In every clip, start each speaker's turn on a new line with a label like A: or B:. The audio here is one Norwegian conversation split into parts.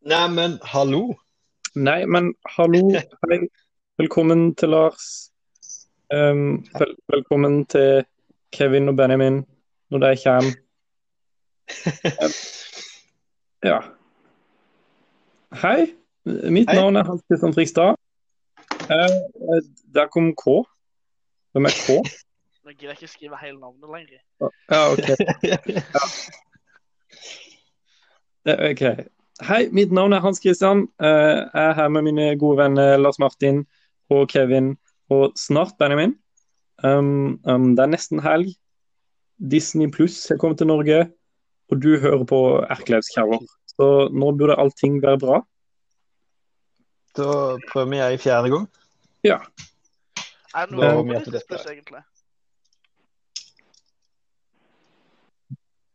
A: Neimen, hallo.
B: Nei, men hallo, hei. Velkommen til Lars. Ehm, vel, velkommen til Kevin og Benjamin når de kommer. Ja. Hei, mitt
A: Hei.
B: navn er Hans Christian Frigstad. Eh, der kom K. Hvem er K?
C: Nå gidder jeg ikke skrive hele navnet lenger.
B: Ja, ok. Eh, Ok. Hei, mitt navn er Hans Christian. Eh, Jeg er her med mine gode venner Lars Martin og Kevin og snart Benjamin. Um, um, det er nesten helg. Disney pluss har kommet til Norge, og du hører på Erkelevskjærer. Så nå burde allting være bra.
A: Da prøver jeg i fjerde gang.
C: Er det
A: Nå
C: noe
A: har vi
C: med
A: etter
C: Disney
A: dette.
C: Plus, egentlig?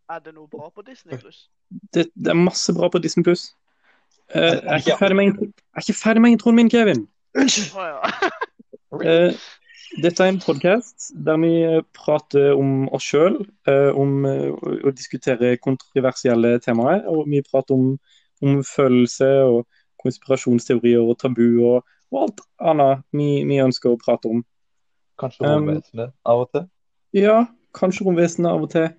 C: Er det noe bra på Disney Plus?
B: Det, det er masse bra på Disney pluss. Eh, jeg, er
A: Ja.
B: ikke ferdig med intro- jeg er ikke ferdig med introen min, Kevin.
C: Å ja.
B: Eh, dette er en podkast der vi eh, prater om oss sjøl, om eh, å å diskutere kontroversielle temaer. Og vi prater om, om følelser og konspirasjonsteorier og tabu og, og alt annet vi, vi ønsker å prate om.
A: Kanskje
B: Um,
A: romvesenet av og til.
B: Ja, kanskje romvesenet av og til.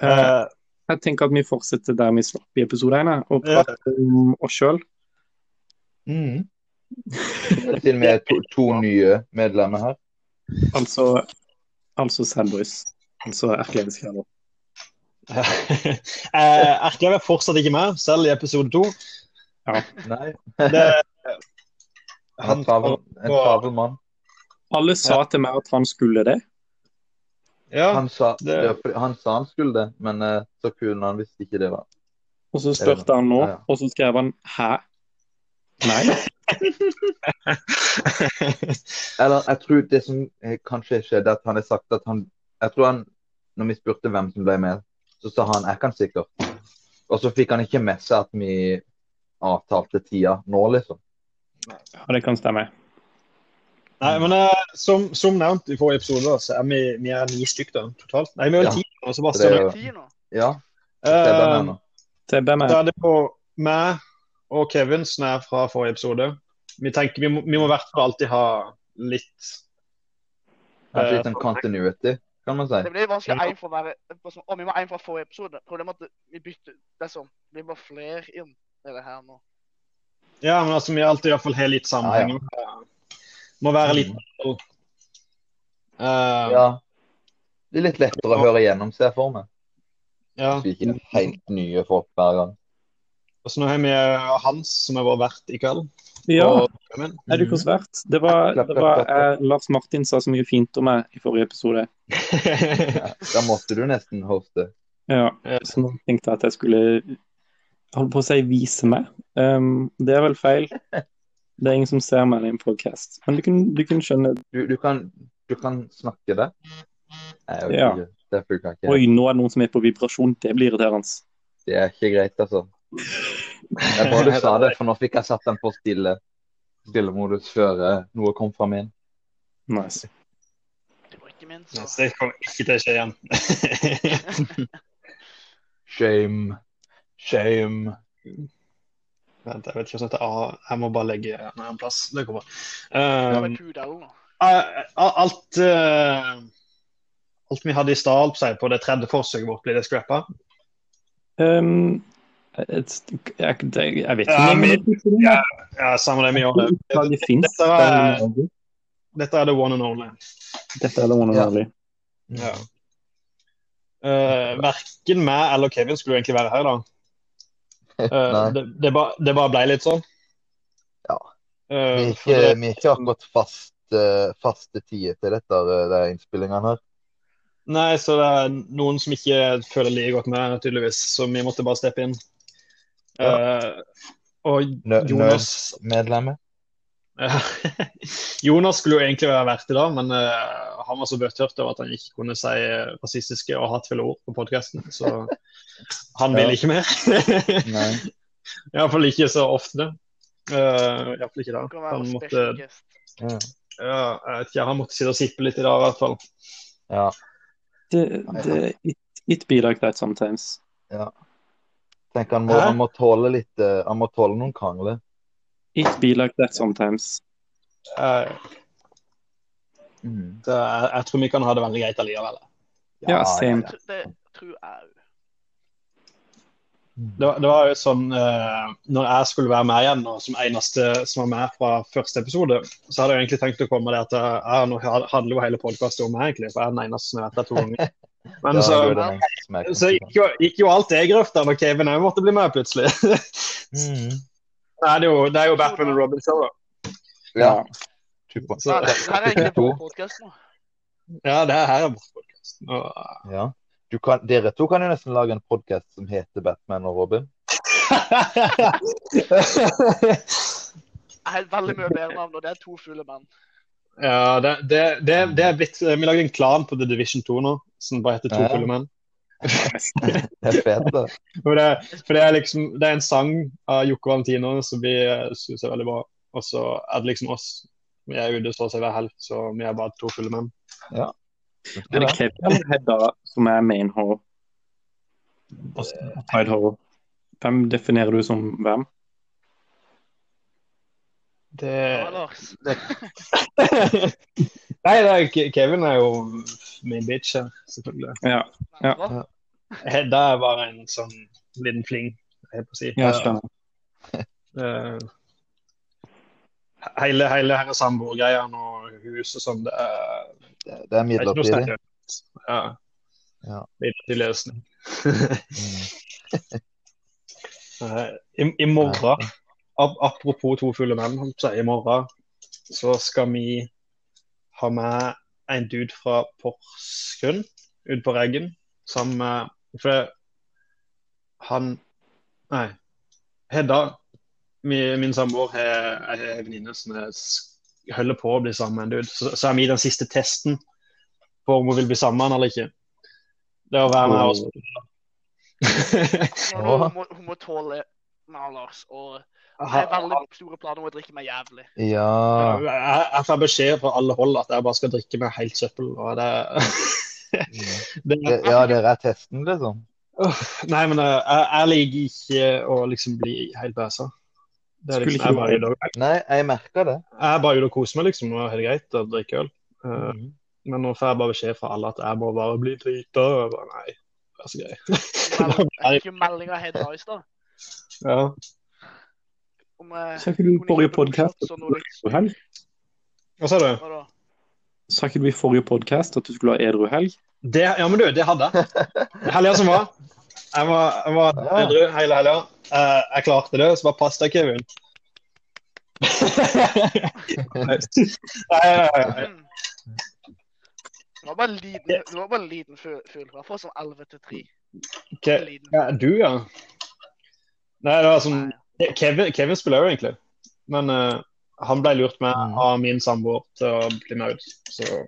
B: Eh,
A: Eh,
B: jeg tenker at vi fortsetter der vi slapp i episode 1, og prater om oss sjøl.
A: mm.
D: Siden vi er to, to nye medlemmer her.
B: Altså, altså Sandboys. Altså erkelighetsgreier.
A: eh, Erklev er fortsatt ikke med, selv i episode to.
D: Nei,
A: Det-
D: han er travel, en travel mann.
B: Alle sa til meg at han skulle det.
A: Ja,
D: Han sa,
A: det-
D: det var fordi- han, sa han skulle det, men eh, så kunne han visste ikke det. var.
B: Og så spurte han nå,
D: Ja, ja.
B: og så skrev han 'hæ'? Nei.
D: Eller jeg tror det som eh, kanskje skjedde, at han har sagt at han Jeg tror han, når vi spurte hvem som ble med, så sa han 'jeg kan sikkert'. Og så fikk han ikke med seg at vi avtalte tida nå, liksom.
B: Ja, det kan stemme.
A: Nei, men eh, som, som nevnt i forrige episode, da, så er vi, vi er ni stykker da, totalt. Nei, vi er
D: Ja.
A: vel ti. nå,
D: Det er
A: Sebastian.
D: jo-
C: Ti nå?
D: Ja.
A: sånn. Eh,
D: det er den her nå.
B: Det ber meg.
A: Da er det på meg og Kevin som er fra forrige episode. Vi tenker vi må, vi må i hvert fall alltid ha litt
D: Kanskje litt sånn continuity, kan man si.
C: Det blir vanskelig en for å være sånn, Å, vi må ha en fra forrige episode. Problemet er at vi bytter Det er sånn. Vi må ha flere inn i det her nå.
A: Ja, men altså, vi alltid i hvert fall har litt sammenheng. Eh, Må være litt eh, ja.
D: Ja. Det er litt lettere å høre gjennom, ser jeg for meg. Hvis vi ikke er helt nye folk hver gang.
A: Og så nå har vi eh, Hans, som er vår vert i kveld.
B: Ja,
A: Og, men,
B: er du konsvert? Det var, det var eh, Lars Martin sa så mye fint om meg i forrige episode.
D: Ja, da måtte du nesten hoste.
B: Ja, Så nå tenkte jeg at jeg skulle jeg holdt på å si vise meg. Um, det er vel feil. Det er ingen som ser meg i en podcast. Men du kunne, du kunne skjønne
D: Du, du, kan, du kan snakke det. Nei, jeg vet
B: Ja.
D: ikke. Det funka ikke.
B: Oi, nå er det noen som er på vibrasjon. Det blir irriterende.
D: Det er ikke greit, altså. Det er bra du sa det, for nå fikk jeg satt den på stille stillemodus før eh, noe kom fra min.
B: Nice.
C: Det var ikke altså. min, så
A: Yes, det kommer ikke til å skje igjen.
D: Shame. Shame.
A: Vent, jeg vet ikke hva som heter A. Jeg må bare legge den en plass. Det går bra.
C: Det
A: Eh,
C: var Kudalen nå.
A: eh, alt eh, Alt vi hadde i stad, holdt på å si, på det tredje forsøket vårt, blir det scrappa?
B: Um, et, jeg, jeg, jeg vet ikke
A: Ja,
B: om jeg-
A: Ja, samme det vi gjør. det.
B: Oppslaget finnes.
A: Dette er, dette er the one and only.
B: Dette er det one and
D: Ja.
B: only.
A: Ja. Eh, verken meg eller Kevin skulle jo egentlig være her, da. Eh,
D: Nei.
A: det, det, ba, det bare ble litt sånn.
D: Ja. Vi
A: Eh, for
D: er ikke,
A: det,
D: vi er ikke akkurat fast, eh, faste tider til dette, eh, de innspillingene her.
A: nei, så det er noen som ikke føler like godt med, tydeligvis, så vi måtte bare steppe inn. Eh, og
D: Nø
A: Jonas
D: Nødmedlemmer.
A: Jonas skulle jo egentlig være vert i dag, men eh, han var så bøtthørt over at han ikke kunne si eh, rasistiske og hatefulle ord på podkasten, så han
D: Ja.
A: vil ikke mer.
D: Nei.
A: Iallfall ikke så ofte. Uh, Iallfall ikke da.
C: Det kan være
A: Han
C: en
A: måtte,
C: special guest.
D: Ja.
A: ja, jeg vet ikke, han måtte sitte og sippe litt i dag, i hvert fall.
D: Ja.
B: Det, det, it, it be like that sometimes.
D: Tenk, han må,
A: Hæ?
D: han må tåle litt eh, Han må tåle noen krangler.
B: It be like that sometimes.
A: Eh,
D: Mm.
A: det, jeg, jeg tror Mikael har det veldig greit allikevel.
B: Ja, same.
D: ja.
C: Tr- Det tror jeg òg.
D: Mm.
A: Det, var- det var jo sånn eh, Når jeg skulle være med igjen, og som eneste som var med fra første episode, så hadde jeg egentlig tenkt å komme det at eh, ja, nå handler jo hele podkasten om meg, egentlig, for jeg er den eneste som har vært der to ganger. Men
D: Da
A: så,
D: gjør det meg som er
A: så gikk, jo, gikk jo alt det i grøfta når Kevin òg måtte bli med, plutselig.
D: Mm.
A: Det er det jo, det er jo Batman og Robin-showet.
D: Ja, super.
A: Så
C: Det her er egentlig bare podcast nå.
A: ja, det her er vår podkast.
D: Ja. Du kan, dere to kan jo nesten lage en podkast som heter Batman og Robin.
C: Jeg har et veldig mye bedre navn, og det er to fulle menn.
A: Ja, det, det, det, det er blitt eh, Vi lagde en klan på The Division 2 nå, som bare heter To
D: Ja.
A: fulle menn.
D: Det er fett, da.
A: For det, for det er liksom Det er en sang av Jokke Valentino som vi eh, synes er veldig bra. Og så er det liksom oss. Vi er ute og slår seg hver helg, så vi er bare to fulle menn.
B: Er det Kevin eller Hedda som er main hoe? Og side hoe? Hvem definerer du som hvem?
A: Det
C: Ja, Lars.
A: Nei, det er, Ke- Kevin er jo min bitch her, selvfølgelig.
B: Ja, Ja.
C: Hva?
A: Hedda er bare en sånn liten fling, jeg holdt på å si.
B: jeg skjønner.
A: Eh, hele hele her samboergreiene og hus og sånn, det er,
D: Det,
A: det
D: det er
A: er ikke noe
D: midlertidig.
A: sterkt. Ja.
D: Ja.
A: Midlertidig løsning.
D: Mm.
A: Eh, I, I morgen, ap apropos to fulle menn, holdt på å si, i morgen så skal vi ha med en dude fra Porsgrunn ut på Reggen sammen med For det- han Nei. Hedda, mi- min samboer, har har en venninne som er s- holder på å bli sammen med en dude. Så, så er vi i den siste testen på om hun vil bli sammen med han eller ikke. Det å være med oss.
C: Nå, nå, Hun må, hun må tåle meg, Lars. Og jeg har veldig store planer om å drikke meg jævlig.
D: Ja.
A: Jeg, jeg får beskjed fra alle hold at jeg bare skal drikke meg helt søppel. Og det, det,
D: Mm. Det, ja, dere er testen, liksom?
A: Åh, nei, men eh, jeg, jeg liker ikke å liksom bli helt bæsa. Det er
B: Skulle
A: liksom,
B: ikke
A: jeg er
B: du-
A: bare ute og-
D: Nei, jeg merker det.
A: jeg er bare ute og koser meg, liksom, og har det greit og drikker øl. Eh,
D: Mm.
A: Men nå får jeg bare beskjed fra alle at jeg må bare bli drita. og jeg bare, Nei, det er så greit.
C: Jeg fikk jo melding av Hedda i stad.
A: Ja.
C: om, eh,
B: Sa ikke du i
C: hun
B: forrige
C: ikke hadde
B: podcast
C: forstått
B: at
C: sånn
B: du var
C: noe.
B: edru helg?
A: Hva sa du?
C: Hva da?
B: Sa ikke du i forrige podcast at du skulle ha edru helg?
A: Det, ja, men du, det hadde jeg. Helga som var. Jeg var, jeg var
D: Ja.
A: edru hele helga. Eh, jeg klarte det, så bare pass deg, Kevin. Nei, nei, nei.
C: Mm. Det var bare en liten, det var bare en liten fugl. fugl. Det var fra sånn 11 til 3. En
A: Ke-
C: liten.
A: ja, du, ja. Nei, det var sånn
C: Nei.
A: Kevin, Kevin spiller jo egentlig, men eh, han ble lurt med
D: Mm.
A: av min samboer til å bli med ut. Så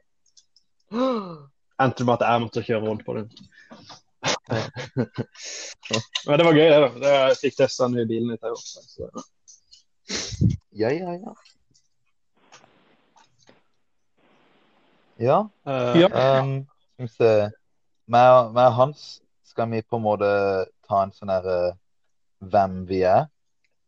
A: endte det med at jeg måtte kjøre rundt på den. Men det var gøy, det. da. Det, jeg fikk testa den nye bilen litt, jeg også. Så.
D: Ja, ja, ja. Ja.
A: Eh,
B: Ja.
D: ehm, skal vi se. Meg og meg og Hans skal vi på en måte ta en sånn her eh, hvem vi er.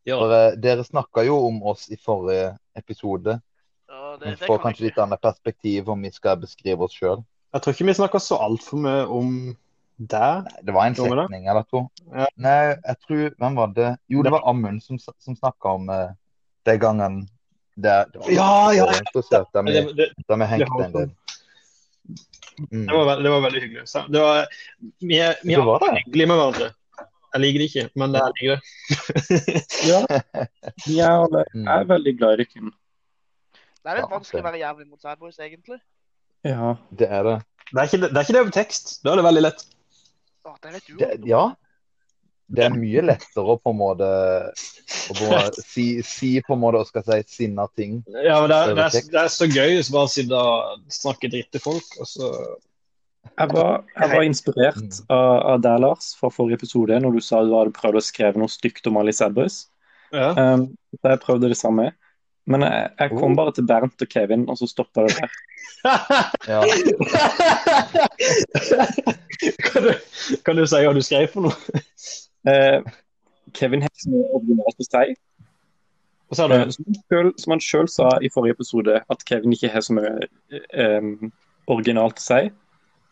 A: Ja.
D: For eh, dere snakka jo om oss i forrige episode.
C: Ja,
D: Vi
C: det, det
D: får
C: kan
D: kanskje
C: jeg
D: litt annet perspektiv om vi skal beskrive oss sjøl.
A: Jeg tror ikke vi snakker så altfor mye om deg.
D: Det var en
A: Tror vi det?
D: setning eller to.
A: Ja.
D: Nei, jeg tror Hvem var det? Jo, det var Amund som, som snakka om uh, den gangen der det var
A: Ja, ja, ja.
D: Interessert, der
A: Det,
D: vi,
A: det,
D: der vi
A: det
D: hengte
A: var sånn.
D: en del. Mm.
A: det, var, veld- det var veldig hyggelig. Så det var, vi er, vi
D: Det
A: er
D: var det.
A: hyggelige med hverandre. Jeg liker det ikke, men jeg liker det.
B: Ja. Jeg
D: Mm.
B: er veldig glad i dere.
C: Det er litt
D: Ja,
C: vanskelig å
D: det-
C: være jævlig mot sad boys, egentlig.
B: Ja.
D: Det er det.
A: Det er ikke det, det er ikke det over tekst. Da er det veldig lett.
C: Å, det vet du
D: det.
C: jo.
D: Ja. Det er mye lettere å på en måte å på en måte si, si på en måte og skal si sinna ting.
A: Ja, men det, er,
D: Over
A: det, er,
D: tekst.
A: det er så gøy å bare sitte og snakke dritt til folk, og så
B: Jeg var, jeg var inspirert av, av deg, Lars, fra forrige episode, når du sa du hadde prøvd å skrive noe stygt om Alice Edboys.
A: ja.
B: Um, så jeg prøvde det samme. Men jeg, jeg
D: Oh.
B: kom bare til Bernt og Kevin, og så stoppa det der.
D: Ja.
A: kan, du, kan du si hva du skrev for noe?
B: Eh, Kevin har ikke så mye originalt å si.
A: Hva sa du?
B: Eh, Som han selv- som han sjøl sa i forrige episode, at Kevin ikke har så mye eh, originalt å si.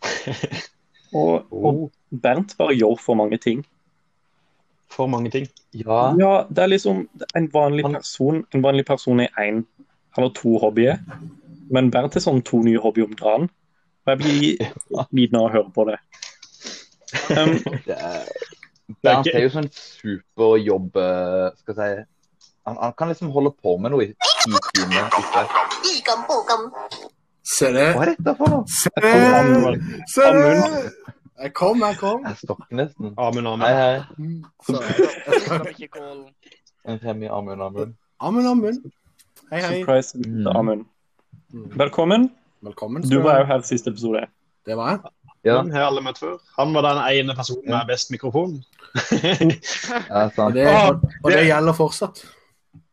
B: Og, og
D: Oh,
B: Bernt bare gjør for mange ting.
A: For mange ting.
D: ja.
B: Ja, det er liksom en vanlig
D: Han-
B: person En vanlig person er én eller to hobbyer, men Bernt er sånn to nye hobbyer om dagen. Og jeg blir liten av å høre på det. Um,
A: Det
D: Det er,
A: er
D: Bernt
A: ikke-
D: er jo sånn superjobb eh, Skal jeg si han, han kan liksom holde på med noe i ti timer. ikke?
E: 一根不根。
F: Ser du?
D: Hva er dette for noe?
F: Ser
B: Amund.
F: du? Ser
B: Amund.
F: du? Jeg kom, jeg kom.
D: Jeg stokker nesten.
A: Amen, amen.
D: Hei, hei.
F: Så,
C: Hei,
D: En fem i armen, armen.
F: Amund, Amund. Hei, hei.
B: surprise,
D: Mm.
B: Amund. Velkommen.
F: Velkommen.
B: Du var jo her siste episode.
F: Det var jeg.
D: Ja,
A: Han har alle møtt før. Han var den ene personen med best mikrofon.
D: ja,
F: Og
D: sant.
F: det,
A: Ah,
F: og det gjelder fortsatt.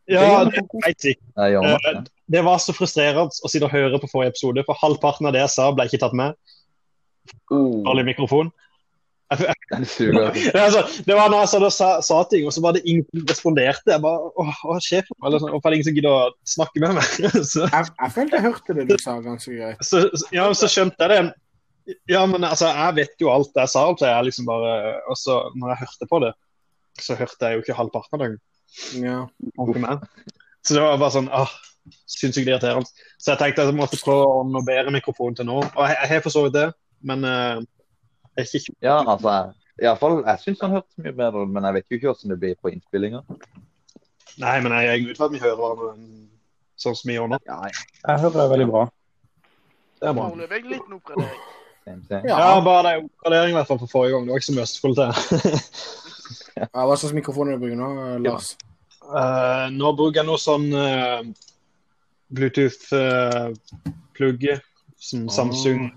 A: ja, det vet jeg.
D: Jeg gjør nok det.
A: Det var så frustrerende å sitte og høre på forrige episode, for halvparten av det jeg sa, ble ikke tatt med.
D: Oh,
A: Dårlig mikrofon.
D: den suger.
A: Det, er altså, det var når jeg satt og sa, sa ting, og så var det ingen som responderte. Jeg bare Åh, åh sjef. Eller sånn, Hvorfor er det ingen som gidder å snakke med meg? Så,
F: Jeg, jeg følte jeg hørte det du sa ganske greit.
A: så, ja, så skjønte jeg det. Ja, men altså, jeg vet jo alt jeg sa, så jeg liksom bare Og så, når jeg hørte på det, så hørte jeg jo ikke halvparten av det.
F: Ja.
A: ordentlig med. Så det var bare sånn ah, sinnssykt irriterende. Så jeg tenkte at jeg måtte prøve å ordne bedre mikrofon til nå. Og jeg jeg har for så vidt det, men eh, jeg er ikke
D: Ja, altså. i alle fall, jeg syns han hørtes mye bedre ut, men jeg vet jo ikke hvordan det blir på innspillinga.
A: Nei, men jeg er glad for at vi hører hverandre sånn som vi gjør nå.
D: Ja,
B: Jeg hører deg veldig bra.
A: Det er bra.
C: liten oppgradering.
D: same, same.
F: ja.
A: Ja, bare det er oppgradering i hvert fall fra forrige gang. Det var ikke så mye østfold til.
F: Ja, Hva slags mikrofon er det du bruker nå, Lars?
A: Eh, nå bruker jeg noe sånn Bluetooth-plugge. som Samsung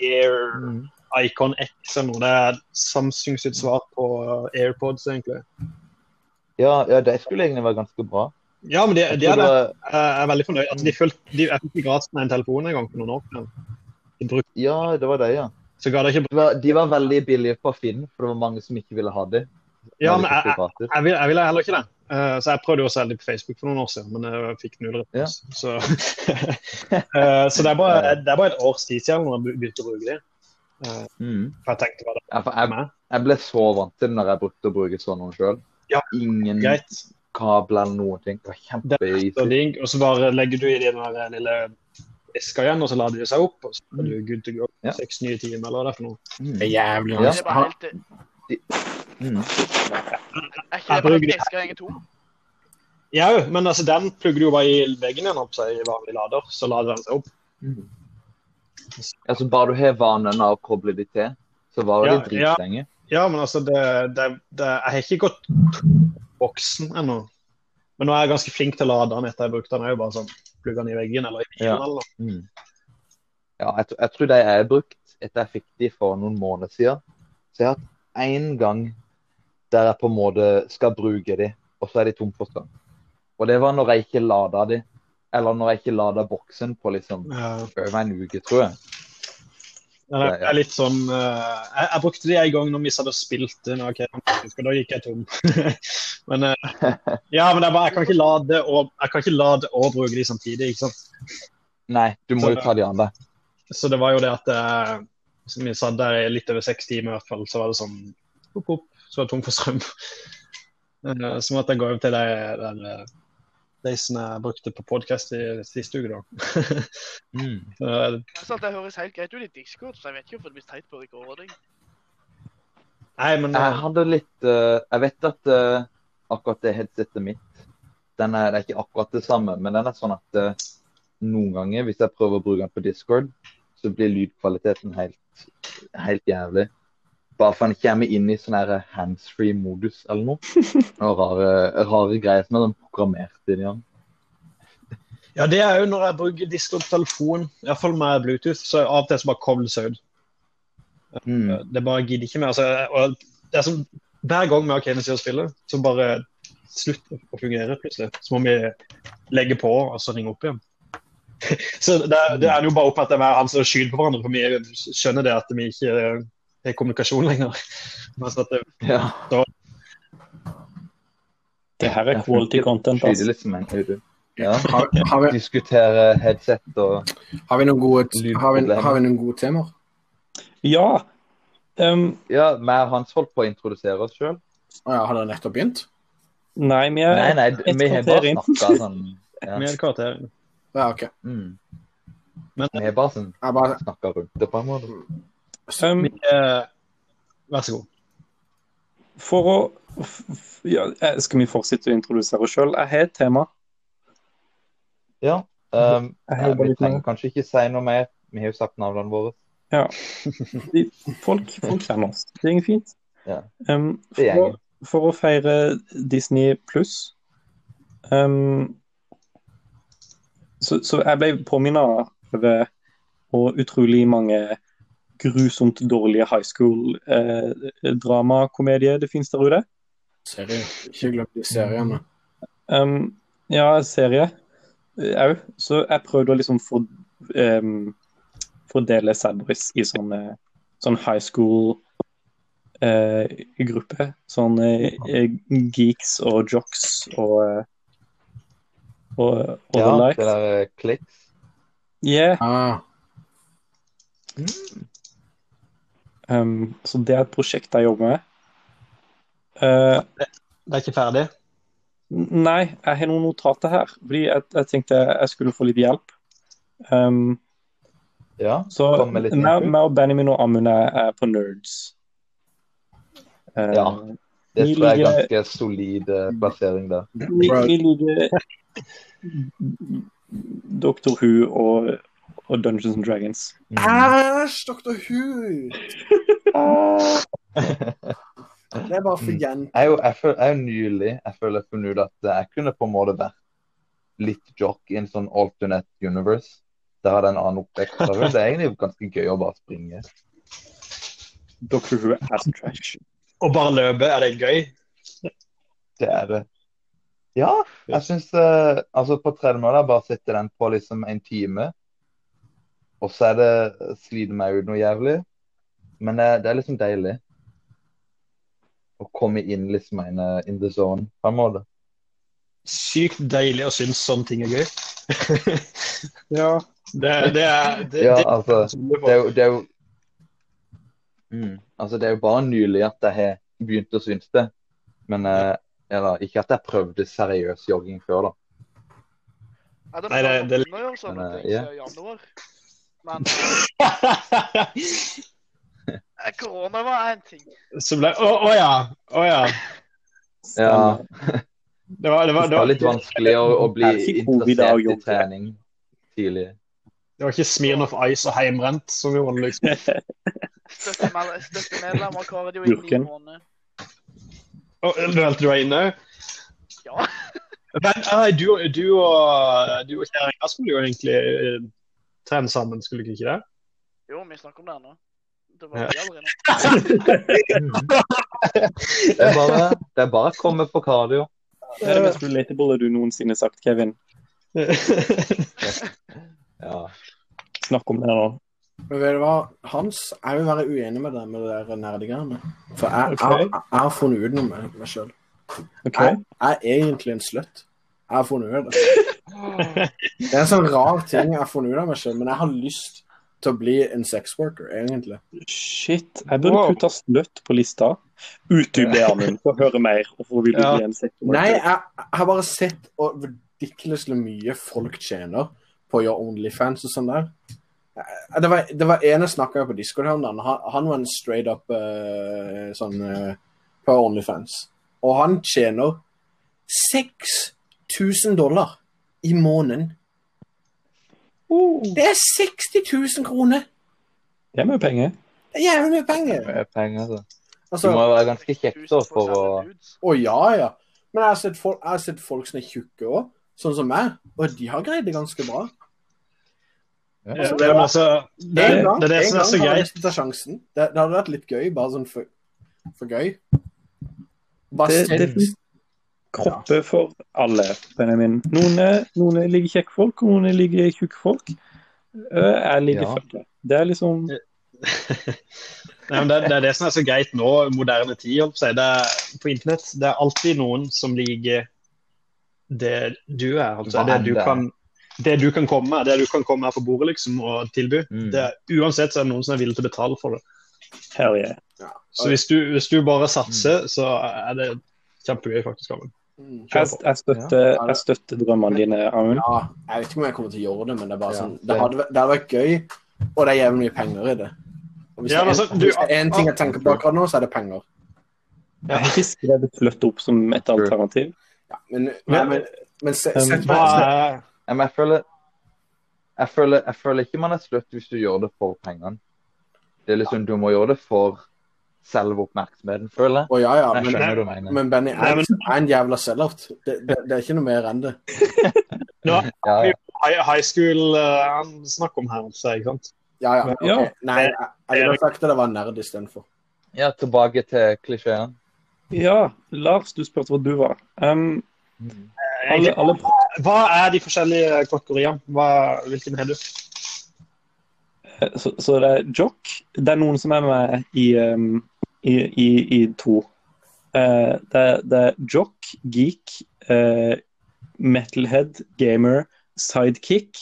A: Air
D: Mm.
A: Icon X eller noe. Det er Samsung sitt svar på eh, AirPods, egentlig.
D: Ja, ja, det skulle egentlig være ganske bra.
A: Ja, men det,
D: Jeg
A: det er
D: tror
A: det.
D: det-
A: Jeg er veldig fornøyd. Altså, de fulgte, de, jeg fikk gratis med en telefon en gang for noen år siden. De brukte,
D: Ja, det var det, ja.
A: så ga det ikke
D: De var, de var veldig billige på Finn, for det var mange som ikke ville ha det.
A: Ja, men jeg, jeg,
D: jeg,
A: jeg, ville, jeg ville heller ikke det. Eh, så jeg prøvde jo å selge det på Facebook for noen år siden, men jeg fikk null respons. Så, Eh, så det, er bare, det er bare et års tid siden når jeg begynte å bruke det.
D: mm.
A: For jeg tenkte hva det
D: Ja, for
A: er
D: jeg,
A: med.
D: jeg ble så vant til det når jeg brukte å bruke sånn noe sjøl.
A: Ja,
D: Ingen
A: Greit.
D: kabler eller noen ting. Det var
A: Det er lett og
D: kjempeeasy.
A: digg. Og så bare legger du i den der eh, lille eska igjen, og så lader de seg opp. Og så er du good to go.
D: Ja.
A: Seks nye timer, eller hva det er for noe.
F: Det
D: Mm.
F: er jævlig
D: Ja.
C: Det er
F: vanskelig.
C: bare
F: Han-
C: helt Er ikke det
D: Mm.
C: bare at eska egentlig tom?
A: Ja, jo, men altså, den plugger du jo bare i veggen igjen, opp seg i vanlig lader, så lader den seg opp.
D: Mm. Altså, bare du har vanen av å koble de til, så var det
A: Ja, ja.
D: dritlenge.
A: Ja, men altså, det, det, det, jeg har ikke gått boksen ennå. Men nå er jeg ganske flink til å lade den etter jeg brukte den. Jeg er jo bare sånn, plugger den i veggen eller i bilen
D: Ja.
A: eller noe.
D: Mm. Ja, jeg, tr- jeg tror de jeg har brukt etter jeg fikk de for noen måneder siden. Så jeg har hatt én gang der jeg på en måte skal bruke de, og så er de tom for strøm. Og det var når jeg ikke lada de. Eller når jeg ikke lada boksen på liksom
A: Eh,
D: over en uke, tror jeg.
A: men
D: Ja,
A: jeg
D: ja.
A: er litt sånn eh, jeg, jeg brukte de en gang når vi satt og spilte. Nå, okay, og da gikk jeg tom. men eh, ja, men det er bare, jeg kan ikke lade og, jeg kan ikke lade og bruke de samtidig. ikke sant?
D: Nei, du må
A: Så-
D: jo ta de andre.
A: Så det var jo det at eh, som vi satt der i litt over seks timer, i hvert fall, så var det sånn pop, pop, så var det tom for strøm. Eh, Så måtte jeg gå over til de, den, eh, de som jeg brukte på podkast siste uke, da.
D: Mm.
A: Eh,
C: Det er sant, Det høres helt greit ut i Discord, så jeg vet ikke hvorfor det blir teit på recording.
A: Nei, men
D: Jeg
A: eh,
D: hadde litt eh, Jeg vet at eh, akkurat det headsetet mitt den er, Det er ikke akkurat det samme, men den er sånn at eh, noen ganger, hvis jeg prøver å bruke den på Discord, så blir lydkvaliteten helt, helt jævlig. Bare for den kommer inn i sånn her handsfree-modus eller noe. Og rare, rare greier som er sånn programmert inn i den.
A: ja, det er jo når jeg bruker Discord-telefon, iallfall med Bluetooth, så av og til så bare kobles jeg ut.
D: Mm.
A: Det bare gidder ikke mer. Altså, jeg- og det er som, hver gang vi har Kane til å spille, så bare slutter å fungere plutselig. Så må vi legge på og så ringe opp igjen. Så det, er- det er jo bare opp at det er han som skyter på hverandre, for vi skjønner det at vi ikke eh, har kommunikasjon lenger. Men så at det,
D: Ja.
B: Det her er quality content,
D: Skyter
B: altså.
D: liksom en høyde. Ja.
F: Har, har, vi,
D: Diskutere headset og
F: har vi noen gode, har vi, har vi noen gode temaer?
B: Ja. Um,
D: Ja, vi og Hans holdt på å introdusere oss sjøl.
F: Å ja, har dere nettopp begynt?
B: nei, vi er
D: Nei, nei, d-
B: et
D: vi har bare
B: kvarter inn.
D: snakka sånn ja.
A: Med et kvarter.
F: Ja, OK.
D: mm.
A: Men-
D: Vi har bare sånn
F: Jeg bare
D: snakka rundt det på en måte.
B: um,
A: Eh, vær så god.
B: For å f- f- ja, eh, Skal vi fortsette å introdusere oss sjøl? Jeg har et tema.
D: Ja. Um,
B: Jeg
D: nei,
B: har bare
D: vi
B: litt mer.
D: trenger kanskje ikke si noe mer. Vi har jo sagt navnene våre.
B: De- Folk, folk kjenner oss. Det går fint.
D: Ja.
B: Um,
D: Det
B: for,
D: gjenger.
B: å, for å feire Disney pluss um, så, så jeg ble påminna over hvor utrolig mange grusomt dårlige high school-dramakomedier det finnes der ute.
F: Serie. Ikke glem de seriene.
B: Um, ja, serie òg. Så jeg prøvde å liksom for, um, fordele Sadboys i sånne sånn high school-gruppe. sånn eh, geeks og jocks og eh, og, og
D: Ja,
B: the
D: det
B: like.
D: der eh, kliks.
B: Yeah.
F: Ah,
B: Um, så det er et prosjekt jeg jobber med. Eh,
A: Det er ikke ferdig.
B: Nei, jeg har noen notater her. Fordi jeg, jeg tenkte jeg skulle få litt hjelp. Um,
D: Ja.
B: så
D: Kom med litt
B: meg
D: input.
B: meg og Benjamin og Amund er, er på nerds. Eh,
D: Ja. Det
B: Vi
D: tror jeg er
B: liker-
D: ganske solid eh, plassering der.
B: vi, vi liker Doctor Who og, og Dungeons and Dragons.
D: Mm.
F: Æsj, Dr. Who! Det er bare for
D: Mm.
F: jent.
D: Jeg er jo jeg føler, jeg er jo nylig jeg føler jeg funnet ut at jeg kunne på en måte vært litt jock i en sånn alternate universe. Der hadde jeg en annen oppvekst. Da var Det er egentlig ganske gøy å bare springe.
B: Doctor Who er så trash.
A: Å bare løpe, er det gøy?
D: Det er det. Ja, jeg syns eh, Altså, på tredemølla bare sitter den på liksom en time, og så er det sliter meg ut noe jævlig. Men eh, det er liksom deilig å komme inn liksom en eh, in the zone, på en måte.
A: Sykt deilig å synes sånne ting er gøy.
B: Ja.
A: Det, det er det,
D: Ja,
A: det,
D: altså.
A: det,
D: det er jo, det er jo mm, Altså, det er jo bare nylig at jeg har begynt å synes det. Men eh, eller, ikke at jeg prøvde seriøs jogging før, da.
C: Nei, det sånn
A: Nei, det-
C: er
A: det-
C: det gjør sånne
D: Men,
C: ting
D: ja.
C: siden januar. Men eh, korona var en ting.
A: Så ble Å, å ja. Å ja.
D: Ja,
A: Det var, det, var,
D: det
A: det,
D: var
A: var,
D: litt vanskelig å, å bli
B: Jeg fikk covid av å
D: interessert i
B: jogge.
D: trening tidlig.
A: det var ikke Smirn of Ice og Heimrent som gjorde det. Liksom.
C: Støttemedlem støttemedlem av kardio i ni
B: Jurken.
C: måneder.
A: Og, du deg inne?
C: Ja.
A: Men nei, du, du og, du og kjerringa skulle jo egentlig eh, trene sammen, skulle dere ikke det?
C: Jo, vi snakker om det nå. Det
A: Ja.
C: var vi aldri nå.
D: Det er bare, det er bare å komme på kardio.
B: Det er det mest relatable du noensinne har sagt, Kevin.
D: Ja.
B: Snakk om det nå.
F: Men vet du hva, Hans, jeg vil være uenig med deg med det der nerdegreiene. For jeg, jeg,
B: Ok.
F: jeg, jeg har funnet ut noe med meg sjøl.
B: OK?
F: Jeg, jeg er egentlig en slutt. Jeg har funnet ut av det. Det er en sånn rar ting jeg har funnet ut av meg sjøl, men jeg har lyst til å bli en sexworker, egentlig.
B: Shit, jeg burde
A: Wow.
B: putta sløtt på lista. Utdyp det, Amund, få høre mer. Og for vil du
A: Ja.
B: bli en sektor.
F: Nei, jeg, jeg har bare sett hvor ridiculously mye folk tjener på å gjøre Onlyfans og sånn der. Jeg- Det var, det var en jeg snakka med på Discord her om dagen. Han, han var en straight up eh, sånn eh, på Onlyfans. Og han tjener 6000 dollar i måneden. Det er 60 000 kroner!
B: Det er mye penger.
F: Det er jævlig mye penger.
D: det er Penger, altså. Du
F: Altså,
D: må jo være ganske kjekk da
C: Tusen
D: for å
C: forskjellige dudes.
F: Å ja, ja. Men jeg har sett folk, jeg har sett folk som er tjukke òg, sånn som meg, og de har greid det ganske bra.
A: Ja, det, er masse, altså, det,
F: En gang,
A: det er det som er så
F: en gang har jeg
A: greit.
F: lyst til å ta sjansen. Det, det hadde vært litt gøy, bare sånn for, for gøy. Bare
B: Det-
F: send-
B: det finnes Kropper for alle, Benjamin. Noen, er- noen er like kjekke folk, og noen er like tjukke folk. Øh, Jeg ligger
D: Ja.
B: født. Det er liksom
A: Nei, men det, det er det som er så greit nå, moderne tid. holdt på å si. Det er, på internett det er alltid noen som liker det du er, altså.
D: Hva
A: Det
D: enn
A: du
D: det er.
A: kan, det du kan komme det du kan komme her på bordet liksom, og tilby.
D: Mm.
A: Det, er- uansett så er det noen som er villig til å betale for det.
B: Hell yeah.
A: Så hvis du, hvis du bare satser,
D: Mm.
A: så er det kjempegøy, faktisk. Amund.
F: Mm.
A: Kjør
B: Jeg,
A: på.
B: jeg, støtter, jeg støtter drømmene dine, Amund.
F: Ja, jeg vet ikke om jeg kommer til å gjøre det, men det er bare
D: Ja,
F: sånn
D: det-
F: Det hadde, vært- det hadde vært gøy, og det er jævlig mye penger i det. Og hvis,
A: Ja,
F: det,
A: men
F: er, sånn,
A: altså, du-
F: hvis det er en ting jeg tenker på akkurat nå, så er det penger.
B: Jeg har ikke skrevet fløtt opp som et alternativ.
F: Ja, men,
A: Men-
F: men, men, men se,
B: Um,
F: se,
A: Hva er
D: Ja, Men jeg føler, jeg føler Jeg føler ikke man er slutt hvis du gjør det for pengene. Det er liksom, Du må gjøre det for selve oppmerksomheten, føler jeg.
F: Å ja, ja,
D: Jeg
F: men,
D: skjønner hva du mener.
F: men Benny
A: Nei,
F: er,
A: men-
F: er en jævla sellout. Det, det, det er ikke noe mer enn det.
A: Nå
D: Ja, ja.
A: high, high school eh, han snakker om her, altså, ikke sant?
F: Ja, ja.
B: Ja.
F: ok. Nei, jeg, jeg ville sagt at det var nerd istedenfor.
D: ja, tilbake til klisjeen.
B: Ja, Lars, du spurte hvor du var. Um, alle,
A: Egentlig,
B: alle,
A: Hva er de forskjellige kategoriene? Hva- Hvilken er du?
B: Eh, så, så det er jock. Det er noen som er med i, um, i, i, i to. Eh, det, er, det er jock, geek, eh, metalhead, gamer, sidekick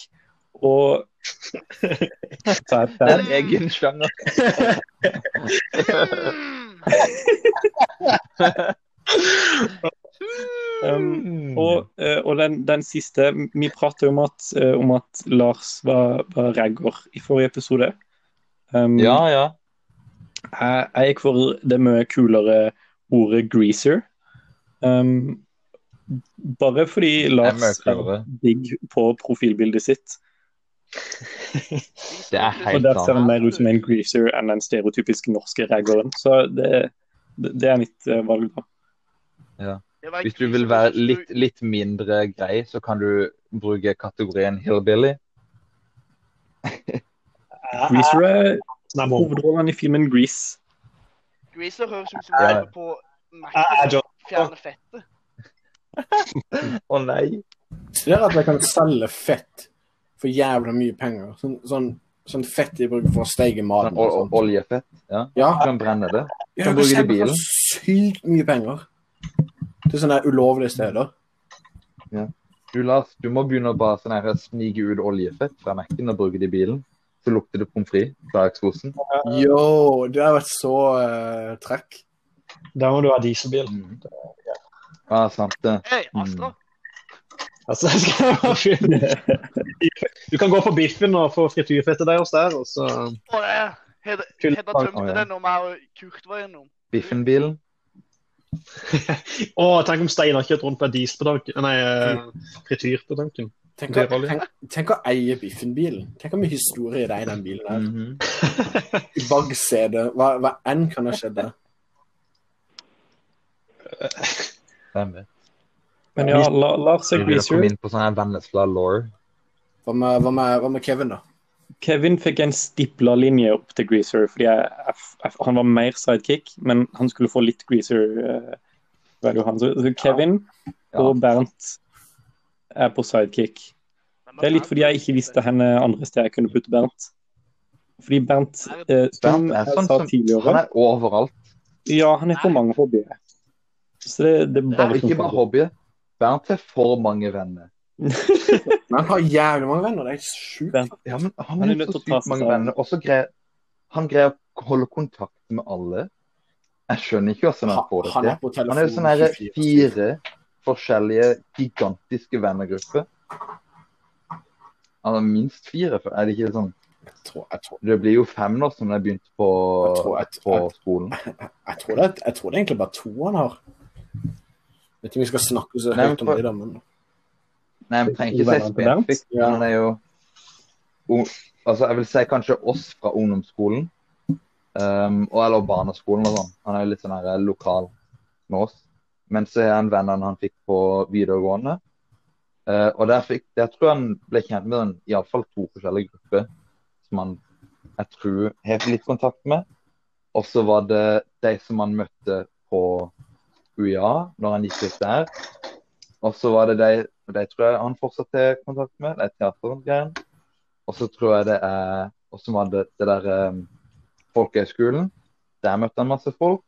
B: og så er
D: Det
B: det-
D: er en egen sjanger.
C: Mm.
B: Um, Og, eh, og den, den siste Vi pratet jo om at, eh, om at Lars var, var ragger i forrige episode. Um,
D: Ja, ja.
B: jeg, jeg gikk for det mye kulere ordet 'greaser'. Um, bare fordi Lars
D: mye
B: er
D: kulere.
B: digg på profilbildet sitt.
D: Det er
B: Og
D: helt
B: der ser han
D: sant.
B: mer ut som en greaser enn den stereotypiske norske raggeren. Så det, det det er mitt eh, valg, da.
C: Det var en
D: Hvis du
C: krise
D: vil være
C: hvis du-
D: litt, litt mindre grei, så kan du bruke kategorien hillbilly.
B: Greaser er
A: Nei, må-
B: hovedrollen i filmen 'Grease'.
C: Greaser høres ut som
D: Ja.
C: du jobber på
B: Ah,
A: Jeg er
C: Mac-en
A: Ah, John.
C: og fjerner fettet.
D: Å nei.
F: Det er at jeg kan selge fett for jævla mye penger. Sånn, sånn, sånn fett de bruker for å steige maten.
D: Sånn, ol- ol- oljefett. Ja.
F: Ja,
D: Du kan brenne det.
F: ja
D: Kan
F: du
D: bruke det i
F: selger
D: bilen.
F: for sykt mye penger. Til sånne der ulovlige steder.
D: Du Lars, du må begynne å bare sånn her, snige ut oljefett fra Mac-en og bruke det i bilen. Så lukter det pommes frites fra eksosen.
F: Yo, det har vært så eh, trekk.
A: Da må du ha dieselbil.
D: Mm. Ja, sant det.
C: Hei, Aslak.
A: Altså, det skal jeg bare finne. Du kan gå på biffen og få frityrfettet deres der. Og så...
C: Å, ja. Hedda
A: Fyll-
C: Hedda
D: Å,
C: tømte
D: ja.
C: den om jeg og Kurt var innom.
D: Biffen-bilen.
A: Å, tenk om Steinar kjørte rundt på en diesel på tanken. Nei, eh, frityr på tanken.
F: Tenk å,
A: Dyrolje.
F: tenk, tenk å eie Biffen-bilen. Tenk hvor mye historie det er i den bilen der.
D: Mhm.
F: I bagsete. Hva, hva enn kan ha skjedd der.
D: Hvem vet.
B: Men ja, La, Lars er
D: Vi begynner å komme
B: greaser.
D: inn på sånn her vennefla law.
F: Hva med, hva, med, hva med Kevin, da?
B: Kevin fikk en stipla linje opp til Greaser, fordi jeg, jeg, jeg, han var mer sidekick, men han skulle få litt Greaser. eh, value han. Så, så Kevin
D: Ja.
B: og Bernt er på sidekick. Det er litt fordi jeg ikke visste henne andre steder jeg kunne putte Bernt. Fordi Bernt, eh, som
D: Bernt er
B: jeg
D: sånn
B: sa
D: som- Han
B: tidligere,
D: er overalt.
B: ja, han er på mange hobbyer. Så det, det er liksom
D: Og
B: bare sånn-
D: Ikke bare hobby. Bernt har for mange venner.
F: Men han har jævlig mange venner. Det er helt sjukt.
D: Ja, men han,
B: Han er
D: har
B: nødt
D: så
B: til å ta
D: sykt
B: seg
D: mange
B: sammen.
D: venner. Og så greier han greier å holde kontakt med alle. Jeg skjønner ikke hvordan han får det
F: Han
D: til.
F: er på
D: Han er jo sånn
F: telefonen
D: her
F: 24.
D: fire forskjellige gigantiske vennegrupper. Altså minst fire, for- er det ikke sånn?
F: Jeg tror, jeg, tror,
D: Det blir jo fem nå som jeg begynte på,
F: Jeg tror- jeg-
D: på
F: jeg-
D: skolen.
F: jeg, tror det, er- jeg tror det er egentlig bare to han har. Jeg vet ikke om vi skal snakke så
D: Nei,
F: høyt om
D: men-
F: det, da, men
D: Nei, jeg trenger ikke si
B: Vennene til Bernt?
D: spesifikt,
F: Ja.
D: men han er jo o- Altså, jeg vil si kanskje oss fra ungdomsskolen. Um, og eller barneskolen og sånn. Han er jo litt sånn her lokal med oss. Men så er han vennene han fikk på videregående. Eh, og der, fikk, der tror jeg han ble kjent med den, i alle fall to forskjellige grupper som han jeg tror har litt kontakt med. Og så var det de som han møtte på UiA når han gikk ut der. Og så var det de og de tror jeg han fortsatt har kontakt med, de teatergreiene. Og så tror jeg det er Og så var det det der eh, folkehøgskolen. Der møtte han masse folk.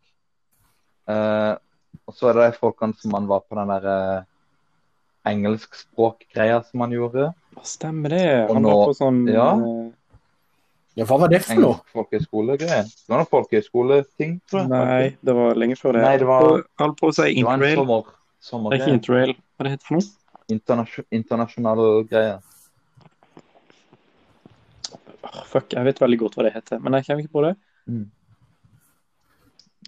D: Eh, og så er det de folkene som han var på den der eh, engelskspråkgreier som han gjorde.
B: Stemmer det.
D: Og
B: Han
D: nå-
B: var på sånn
D: Ja.
B: eh,
F: Ja, hva var det for noe?
D: Engelsk folkehøyskole-greier. Det var noen folkehøyskoleting, tror jeg.
B: eh, Nei, det var lenge før det.
D: Nei, det var-
B: Og Jeg holdt på å si
D: Det var en
B: interrail.
D: sommer,
B: Det er ikke
D: sommergreie.
B: interrail. Hva det heter for noe?
D: Internasjon- Internasjonale greier.
B: Åh, fuck, jeg vet veldig godt hva det heter, men jeg kommer ikke på det.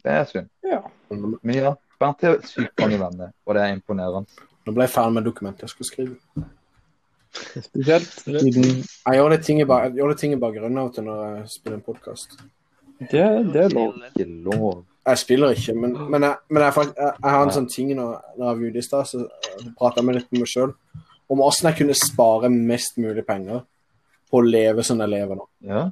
D: Det er synd.
B: Ja.
F: Nå
D: Men ja, Bernt er sykt mange venner, og det er imponerende.
F: ble jeg ferdig med dokumentet jeg skulle skrive.
B: Spesielt siden
F: Jeg gjør litt ting i, ba jeg gjør litt ting i bakgrunnen av og til når jeg spiller en podkast.
B: Det, det er lov.
D: Ikke lov.
F: Jeg spiller ikke, men, men, jeg, men jeg, fakt- jeg, jeg har en sånn ting når, når jeg var ute i stad, så eh, pratet jeg med litt med meg sjøl om åssen jeg kunne spare mest mulig penger på å leve som jeg lever nå.
D: Ja.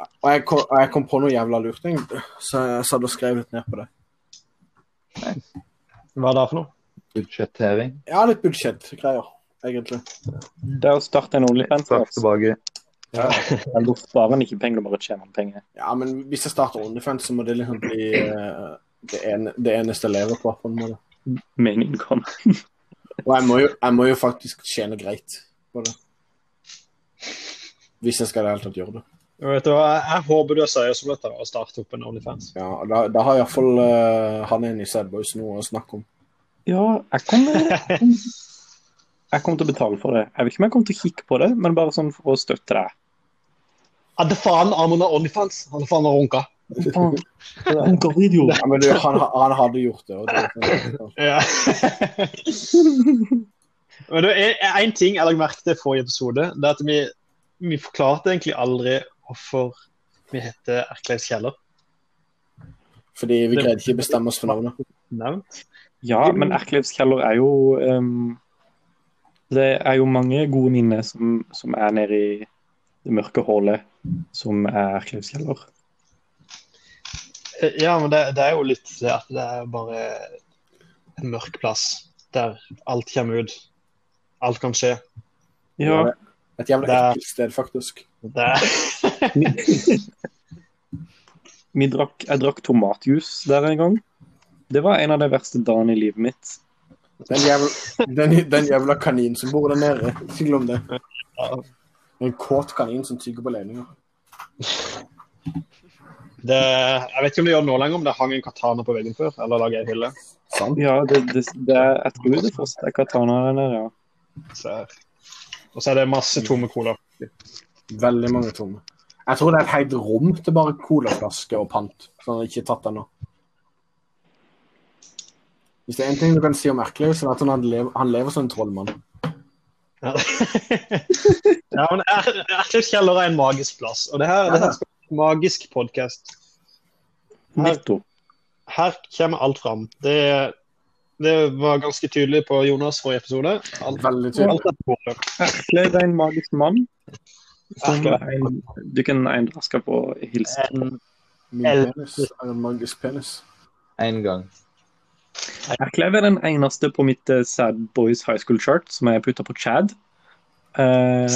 F: Og jeg kom, og jeg kom på noe jævla lurt, egentlig, så jeg satt og skrev litt ned på det.
A: Hva er det for noe?
D: Budsjettering.
F: Ja, litt budsjettgreier, egentlig.
B: Det å starte en OnlyFans
D: Straks tilbake.
F: Ja.
B: Da sparer en ikke penger, du bare tjener penger.
F: ja, men hvis jeg starter OnlyFans, så må det liksom bli eh, det, ene, det eneste jeg lever på. på en måte.
B: Med en innkom.
F: Og jeg må, jo, jeg må jo faktisk tjene greit på det. Hvis jeg skal i det hele tatt gjøre det.
A: Vet du hva, Jeg håper du er seriøs om dette og starter opp en OnlyFans.
F: Ja, og da, da har iallfall uh, han ene i Sad Boys noe å snakke om.
B: Ja, jeg kommer Jeg kommer til å betale for det. Jeg vet ikke om jeg kommer til å kikke på det, men bare sånn for å støtte deg.
A: Hadde faen Amund har OnlyFans? Han er faen meg runka.
B: Faen. Hunkervideo.
F: Ja, men du, han, han hadde gjort det. Og det
A: Ja. Men du, én ting jeg la merke til i forrige episode, det er at vi, vi forklarte egentlig aldri hvorfor vi heter Erklevs kjeller.
F: fordi vi greide ikke å bestemme oss for navnet.
A: Nevnt.
B: Ja, men Erklevs kjeller er jo ehm, Det er jo mange gode minner som, som er nede i det mørke hullet som er Erklevs kjeller.
A: Eh, Ja, men det, det er jo litt det at det er bare en mørk plass der alt kommer ut. Alt kan skje.
B: Ja.
F: Et jævlig
A: Det er-
F: ekkelt sted, faktisk.
A: Det er,
B: Vi drakk, jeg drakk tomatjus der en gang. Det var en av de verste dagene i livet mitt.
F: Den jævla, den, den jævla kaninen som bor der nede. Ikke glem det. En kåt kanin som tygger på ledninger.
A: det, jeg vet ikke om det gjør det nå lenger, om det hang en katana på veggen før, eller laget ei hylle.
F: Sant?
B: Ja, det, det, det, er- jeg tror det fortsatt er katana der nede, ja.
A: Så, og så er det masse tomme cola.
F: Veldig mange tomme. Jeg tror det er et helt rom til bare colaflasker og pant. Sånn at jeg ikke er tatt ennå. Hvis det er én ting du kan si om Erklev, så er det at han lever, han lever som en trollmann.
A: Ja, ja men Er- Erklevs kjeller er en magisk plass. Og det her, det her skal være en magisk podkast. Her,
B: Nettopp.
A: her kommer alt fram. Det, det var ganske tydelig på Jonas forrige episode. Alt,
F: Veldig tydelig.
A: alt er på bordet.
B: Erklev er en magisk mann. Som
A: Erklev.
B: en, du kan eindra skal på hilse.
A: En-
F: Min penis er en magisk penis.
D: Én gang.
B: Erklev er den eneste på mitt eh, Sad Boys High School Chart som jeg putta på Chad. Eh,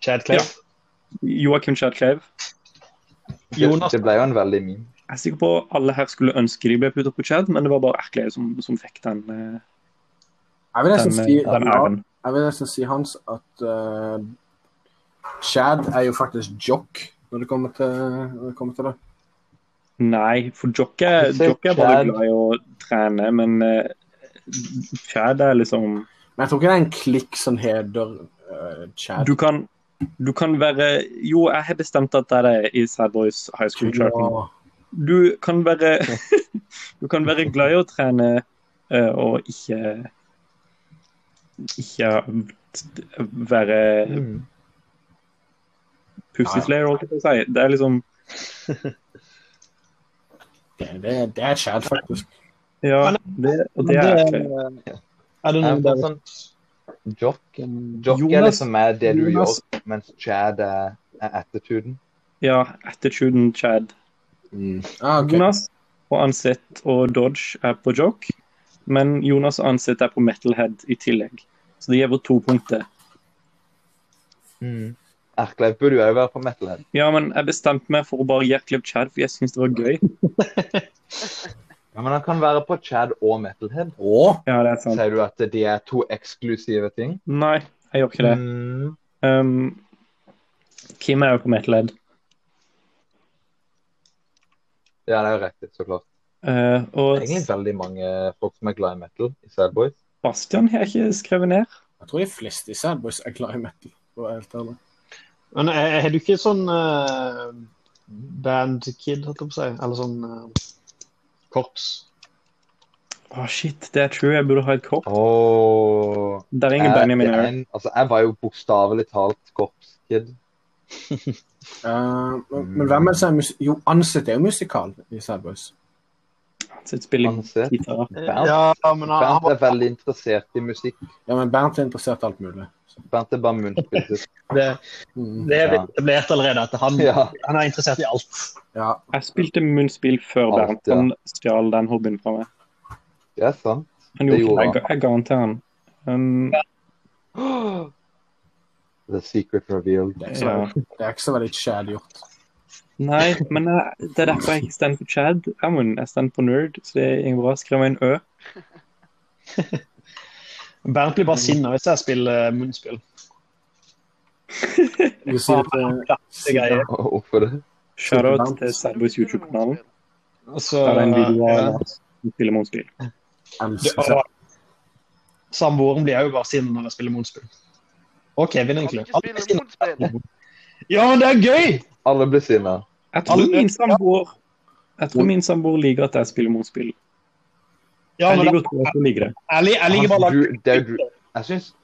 A: Chad Clay.
B: Ja. Joakim Chad Klev.
D: Det,
A: Jonas.
D: det ble jo en veldig meme.
B: Jeg er sikker på alle her skulle ønske de ble putta på Chad, men det var bare Erklev som, som fikk den, eh,
F: Jeg vil nesten
B: den,
F: si,
B: eh, den
F: ja,
B: æren.
F: jeg vil nesten si Hans, at eh, Chad er jo faktisk jock når det kommer til, når det, kommer til det.
B: Nei, for Jokke Jokke er bare
D: Chad.
B: glad i å trene, men eh, Chad er liksom
F: Men jeg tror ikke det er en klikk som heter eh, Chad.
B: Du kan, du kan være Jo, jeg har bestemt at det er det i Sad Boys High School Charten.
F: Ja.
B: Du kan være Du kan være glad i å trene eh, og ikke Ikke være
D: Mm.
B: pussyslayer, holdt jeg på å si. Det er liksom
F: Det, det, det er Chad, faktisk.
B: Ja, det, og det er
A: det,
B: erklært.
A: er det
D: Er
A: noen
D: det
A: der
D: sånn jock? Jock er
B: Jonas-
D: liksom er det du
B: Jonas-
D: gjør, mens Chad er, er attituden.
B: Ja, attituden Chad
F: Ah, ok.
B: Jonas og Ansett og Dodge er på joke, men Jonas og Ansett er på metalhead i tillegg. Så det gir oss to punkter.
D: Mm. Erklev burde jo òg være på metalhead.
B: Ja, men jeg bestemte meg for å bare gi Klev Chad, for jeg syns det var gøy.
D: Ja, men han kan være på Chad og Metalhead.
F: Åh,
B: Ja, det er sant.
D: Sier du at de er to eksklusive ting?
B: Nei, jeg gjør ikke det.
D: Mm.
B: Um, Kim er jo på metalhead.
D: Ja, det er jo riktig, så klart.
B: Eh,
D: Det
B: og
D: er egentlig veldig mange folk som er glad i metal i Sad Boys.
B: Sebastian har jeg ikke skrevet ned.
F: jeg tror de fleste i Sad Boys er glad i metal. for å være helt ærlig.
A: Men er, er du ikke sånn eh, bandkid, holdt jeg på å si? Eller sånn eh, korps?
B: Å, shit, det er true. Jeg burde ha et korps.
D: Ah, Oh,
B: Der er ingen Benjamin her.
D: altså, jeg var jo bokstavelig talt korpskid.
F: Eh, men, men hvem er det som er musikal? Jo, Ansett er jo musikal i Sad Boys.
B: Så jeg spiller
D: Ansett.
B: gitar.
D: Bernt,
A: Ja, men han, han
D: Bernt
A: var
D: er veldig interessert i musikk.
F: Ja, men Bernt er interessert i alt mulig.
D: Bernt er bare munnspiser.
A: det,
F: Mm.
A: det er
D: Ja.
A: etablert allerede at han,
D: Ja.
A: han er interessert i alt.
F: Ja,
B: Jeg spilte munnspill før
D: Alt,
B: Bernt.
D: Ah, ja.
B: Han stjal den hobbyen fra meg.
D: Det er sant.
B: Han gjorde
D: Det
B: ikke det.
D: gjorde
B: Jeg, jeg ga den til han. Um,
D: The secret revealed.
F: det er ikke så
B: ja.
F: veldig, det er ikke så veldig Chad gjort.
B: Nei, men jeg, det er derfor jeg ikke står på Chad. Jeg må- jeg står på nerd, så det er ingen bra. Skriv meg en Ø.
A: Bernt blir bare sinna hvis jeg spiller eh, munnspill.
F: Du sier at, eh,
A: Det er greier.
D: Og Hvorfor det?
B: Shoutout til Sadboys YouTube-kanalen.
A: Og så
B: Der er en video
A: ja,
B: av oss som spiller munnspill.
F: jeg
A: det-
F: elsker
A: og Samboeren blir òg bare sinna når jeg spiller munnspill. Og Kevin,
C: Kan
A: egentlig.
C: ikke spille motspill.
A: Ja, men det er gøy!
D: Alle blir sinna.
B: Jeg tror min samboer jeg tror min samboer liker at jeg spiller munnspill.
A: Ja,
B: Jeg
A: men
B: liker
A: det,
B: å tro at hun liker det.
A: jeg, li- jeg liker bare å lage
D: Du- det er du- Jeg syns,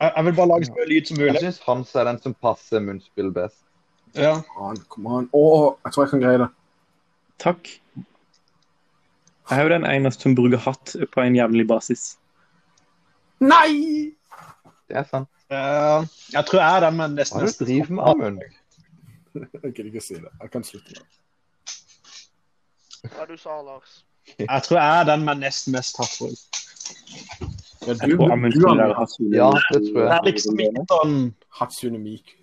A: Jeg jeg vil bare lage så mye lyd som
D: jeg
A: mulig.
D: syns Hans er den som passer munnspill best.
A: Ja.
F: han. Kom an. Åh, jeg tror jeg kan greie det.
B: Takk. Jeg er jo den eneste som bruker hatt på en jevnlig basis.
F: Nei!
D: Det er sant.
A: Eh, jeg tror jeg er den med nesten
D: Hva sånn. er det du driver med, Amund?
F: Jeg gidder ikke si det. Jeg kan slutte med det.
C: Hva du sa, Lars.
A: Jeg tror jeg er den med nest mest hattbruk.
F: Ja,
B: Jeg tror Amund
F: du, du
B: skulle
F: har
B: lære Hatsune.
D: Ja, det tror jeg.
A: Det er liksom ikke sånn
F: Hatsune Miku.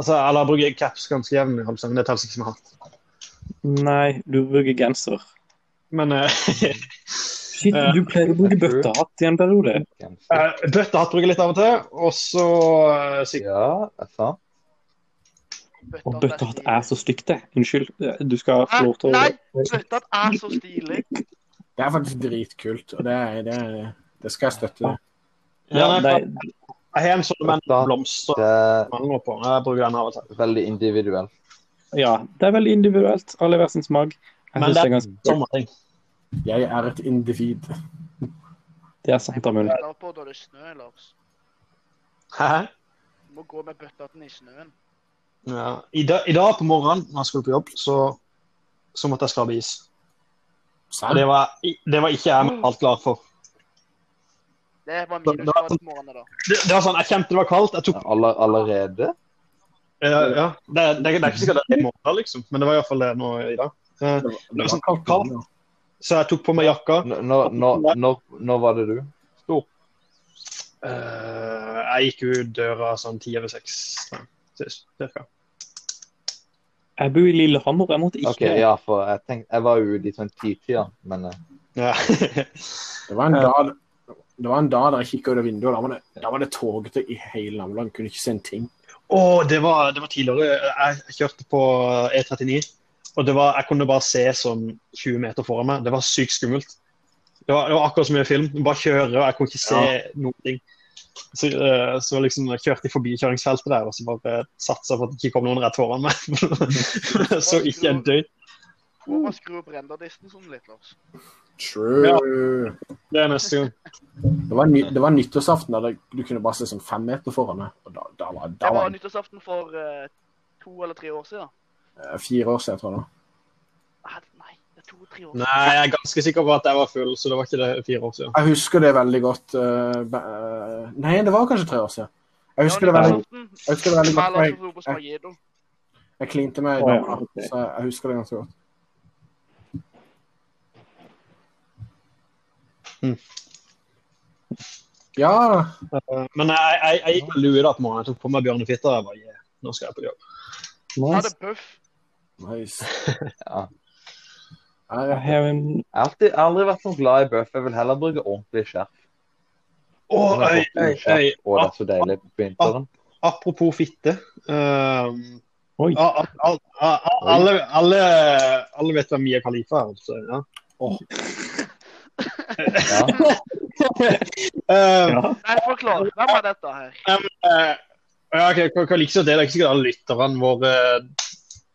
A: altså, Eller jeg bruker caps ganske jevnlig, holdt jeg på å si, men det telles ikke som hatt.
B: Nei, du bruker genser. Eh,
A: Men eh,
B: Shit, du pleier å bruke bøttehatt i en periode.
D: Genser.
A: eh, bøttehatt bruker jeg litt av og til, og så eh, sikkert
D: Ja, det er sant.
B: Og bøttehatt er så stygt, det. Unnskyld. Du skal få lov til å
C: Nei, bøttehatt er så stilig.
F: Det er faktisk dritkult, og det, er, det, er, det skal jeg støtte.
B: ja, nei,
A: Jeg har en sånn med en
D: Bøttehatt.
A: blomster
D: Det er
A: mangler på. Jeg bruker den av og til.
D: veldig individuelt.
B: ja, det er veldig individuelt. Alle hver sin smak. Jeg
A: Men
B: synes
A: det
B: det
A: er-
B: er ganske
A: Sommerting.
F: Jeg er et individ.
B: Det er sant, Amund.
C: Da på da det er snø, Lars.
A: Hæ?
C: Du må gå med bøttehatten i snøen.
A: Ja. I, da, I dag på morgenen når jeg skulle på jobb, så, så måtte jeg skrape is. Og
F: Serr?
A: det var, det var ikke jeg mentalt klar for.
C: Det var minusgrader på morgenen da.
A: Det, det var sånn, Jeg kjente det var kaldt. jeg tok
D: Aller, allerede?
A: Ja, ja. Det, det, det er ikke sikkert det er i morgen, liksom, men det var iallfall det nå i dag. Eh,
F: Det var-
A: det var sånn
F: kaldt.
A: kaldt. Så jeg tok på meg jakka.
D: N- Når, når, når, når var det du? Stor.
A: Eh, jeg gikk ut døra sånn ti over seks, sånn, cirka.
B: Jeg bor i Lillehammer. Jeg måtte ikke
D: OK, ja, for jeg tenkte Jeg var jo ute i sånn titida, men eh,
A: Ja.
F: Det var en dag, det var en dag der jeg kikket ut av vinduet, og da var det, da var det togete i hele Namland. Kunne ikke se en ting.
A: Og det var, det var tidligere. Jeg jeg kjørte på E39, og det var, jeg kunne bare se sånn 20 meter foran meg. Det var sykt skummelt. Det var, det var akkurat som i en film. Du Bare kjøre, og jeg kunne ikke se noen ting. Så, eh, så liksom jeg kjørte i forbikjøringsfeltet der og så bare satsa på at det ikke kom noen rett foran meg. så ikke en døyt.
C: Må man skru opp renderdisten sånn litt, Lars?
F: True.
A: Ja. Det er neste gang.
F: Det, var ny, det var nyttårsaften der det- du kunne bare se sånn fem meter foran meg. Og da, da var, da
C: Det
F: var
C: var nyttårsaften for eh, to eller tre år siden.
F: eh, fire år siden, tror jeg. da.
C: Ah, Nei, det er to-tre år siden.
A: Nei, jeg er ganske sikker på at jeg var full, så det var ikke det fire år siden.
F: Jeg husker det veldig godt. eh, be- eh, nei, det var kanskje tre år siden. Jeg husker det veldig,
C: godt.
F: jeg husker det veldig godt. for Jeg,
C: Jeg, jeg,
F: jeg klinte med
B: Å, ja,
F: dama,
B: ok.
F: så jeg husker det ganske godt.
A: Hmm.
F: Ja,
A: Eh, Men jeg, jeg, jeg gikk med lue da på morgenen. Jeg tok på meg bjørnefitta. Jeg bare, yeah, nå skal jeg på jobb.
C: jeg
B: Nice.
C: hadde bøff.
F: nice.
D: ja.
F: Ja,
B: Jeg
F: ja.
B: har en-
D: Jeg har alltid, jeg har aldri vært så glad i bøff. Jeg vil heller bruke ordentlig skjerf.
A: Å,
D: Sånn
A: ei, ei,
D: ordentlig
A: ei.
D: skjerf, Og det er så deilig på vinteren.
A: Apropos fitte. ehm,
B: Oi.
A: a- a- a- a- a- alle, alle, alle vet hvem Mia Khalifa er. Altså, ja.
D: Ja.
A: Ehm,
B: Ja.
C: Nei, forklar. Hvem er dette her?
A: Eh, ja, ok, hva, hva likes det? Det er ikke sikkert alle lytterne våre, eh,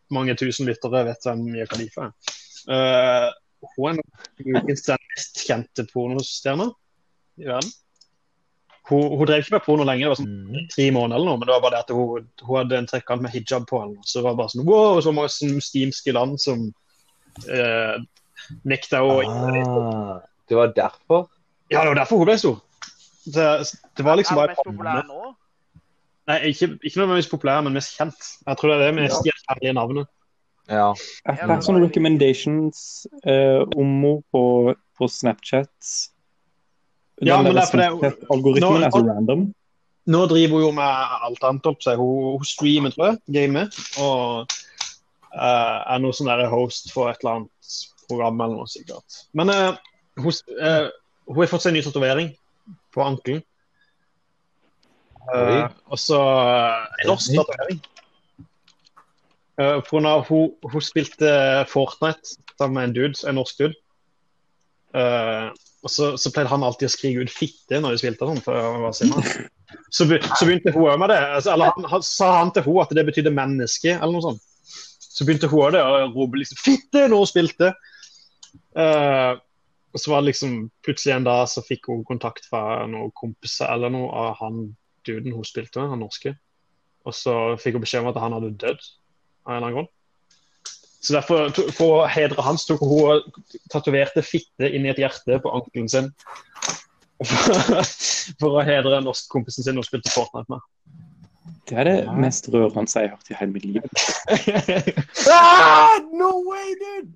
A: mange tusen lyttere, vet hvem Mia Khalifa er. Eh, hun er nok den mest kjente pornostjerna i verden. Hun, hun drev ikke med porno lenge, det var sånn
D: Mm.
A: tre måneder eller noe, men det var bare det at hun, hun hadde en trekant med hijab på henne. Så det var bare sånn wow, så mange sånne muslimske land som eh, nekta å
D: Ah, det var derfor?
A: Ja, det var derfor hun ble stor. Det, det var liksom
C: er
A: bare
C: den mest populære nå?
A: Nei, ikke, ikke nødvendigvis populær, men mest kjent. Jeg tror det er det med de herlige navnet.
D: Ja.
B: Jeg har fått sånne recommendations eh, om henne på, på Snapchat. Den
A: Ja, men
B: der
A: det er fordi-
B: Snapchat-algoritmen
A: Nå-
B: er så random.
A: Nå driver hun jo med alt annet, opp seg. Hun, hun streamer, tror jeg, gamer, og eh, er noe sånn der host for et eller annet program eller noe sikkert. Men eh, hun, s- eh, hun har fått seg en ny tatovering på ankelen. Eh,
D: Oi.
A: og så eh, en norsk tatovering. Eh, for hun, har- hun, hun spilte eh, Fortnite sammen med en dude, en norsk dude. Eh, og så, så pleide han alltid å skrike ut 'fitte' når de spilte og sånn. for han var sinna. Så, be, så begynte hun også med det. Altså, eller han, han, sa han til henne at det betydde 'menneske', eller noe sånt. Så begynte hun også det, og rope liksom 'fitte' når hun spilte. Eh, og så var det liksom plutselig en dag så fikk hun kontakt fra noen kompiser eller noe av han duden hun spilte med, han norske. Og så fikk hun beskjed om at han hadde dødd av en eller annen grunn. Så derfor, to- for å hedre hans, tok hun og tatoverte fitte inn i et hjerte på ankelen sin. For å hedre norskkompisen sin hun spilte Fortnite med.
B: Det er det mest rørende jeg har hørt i hele mitt liv.
F: Ah, no way, dude!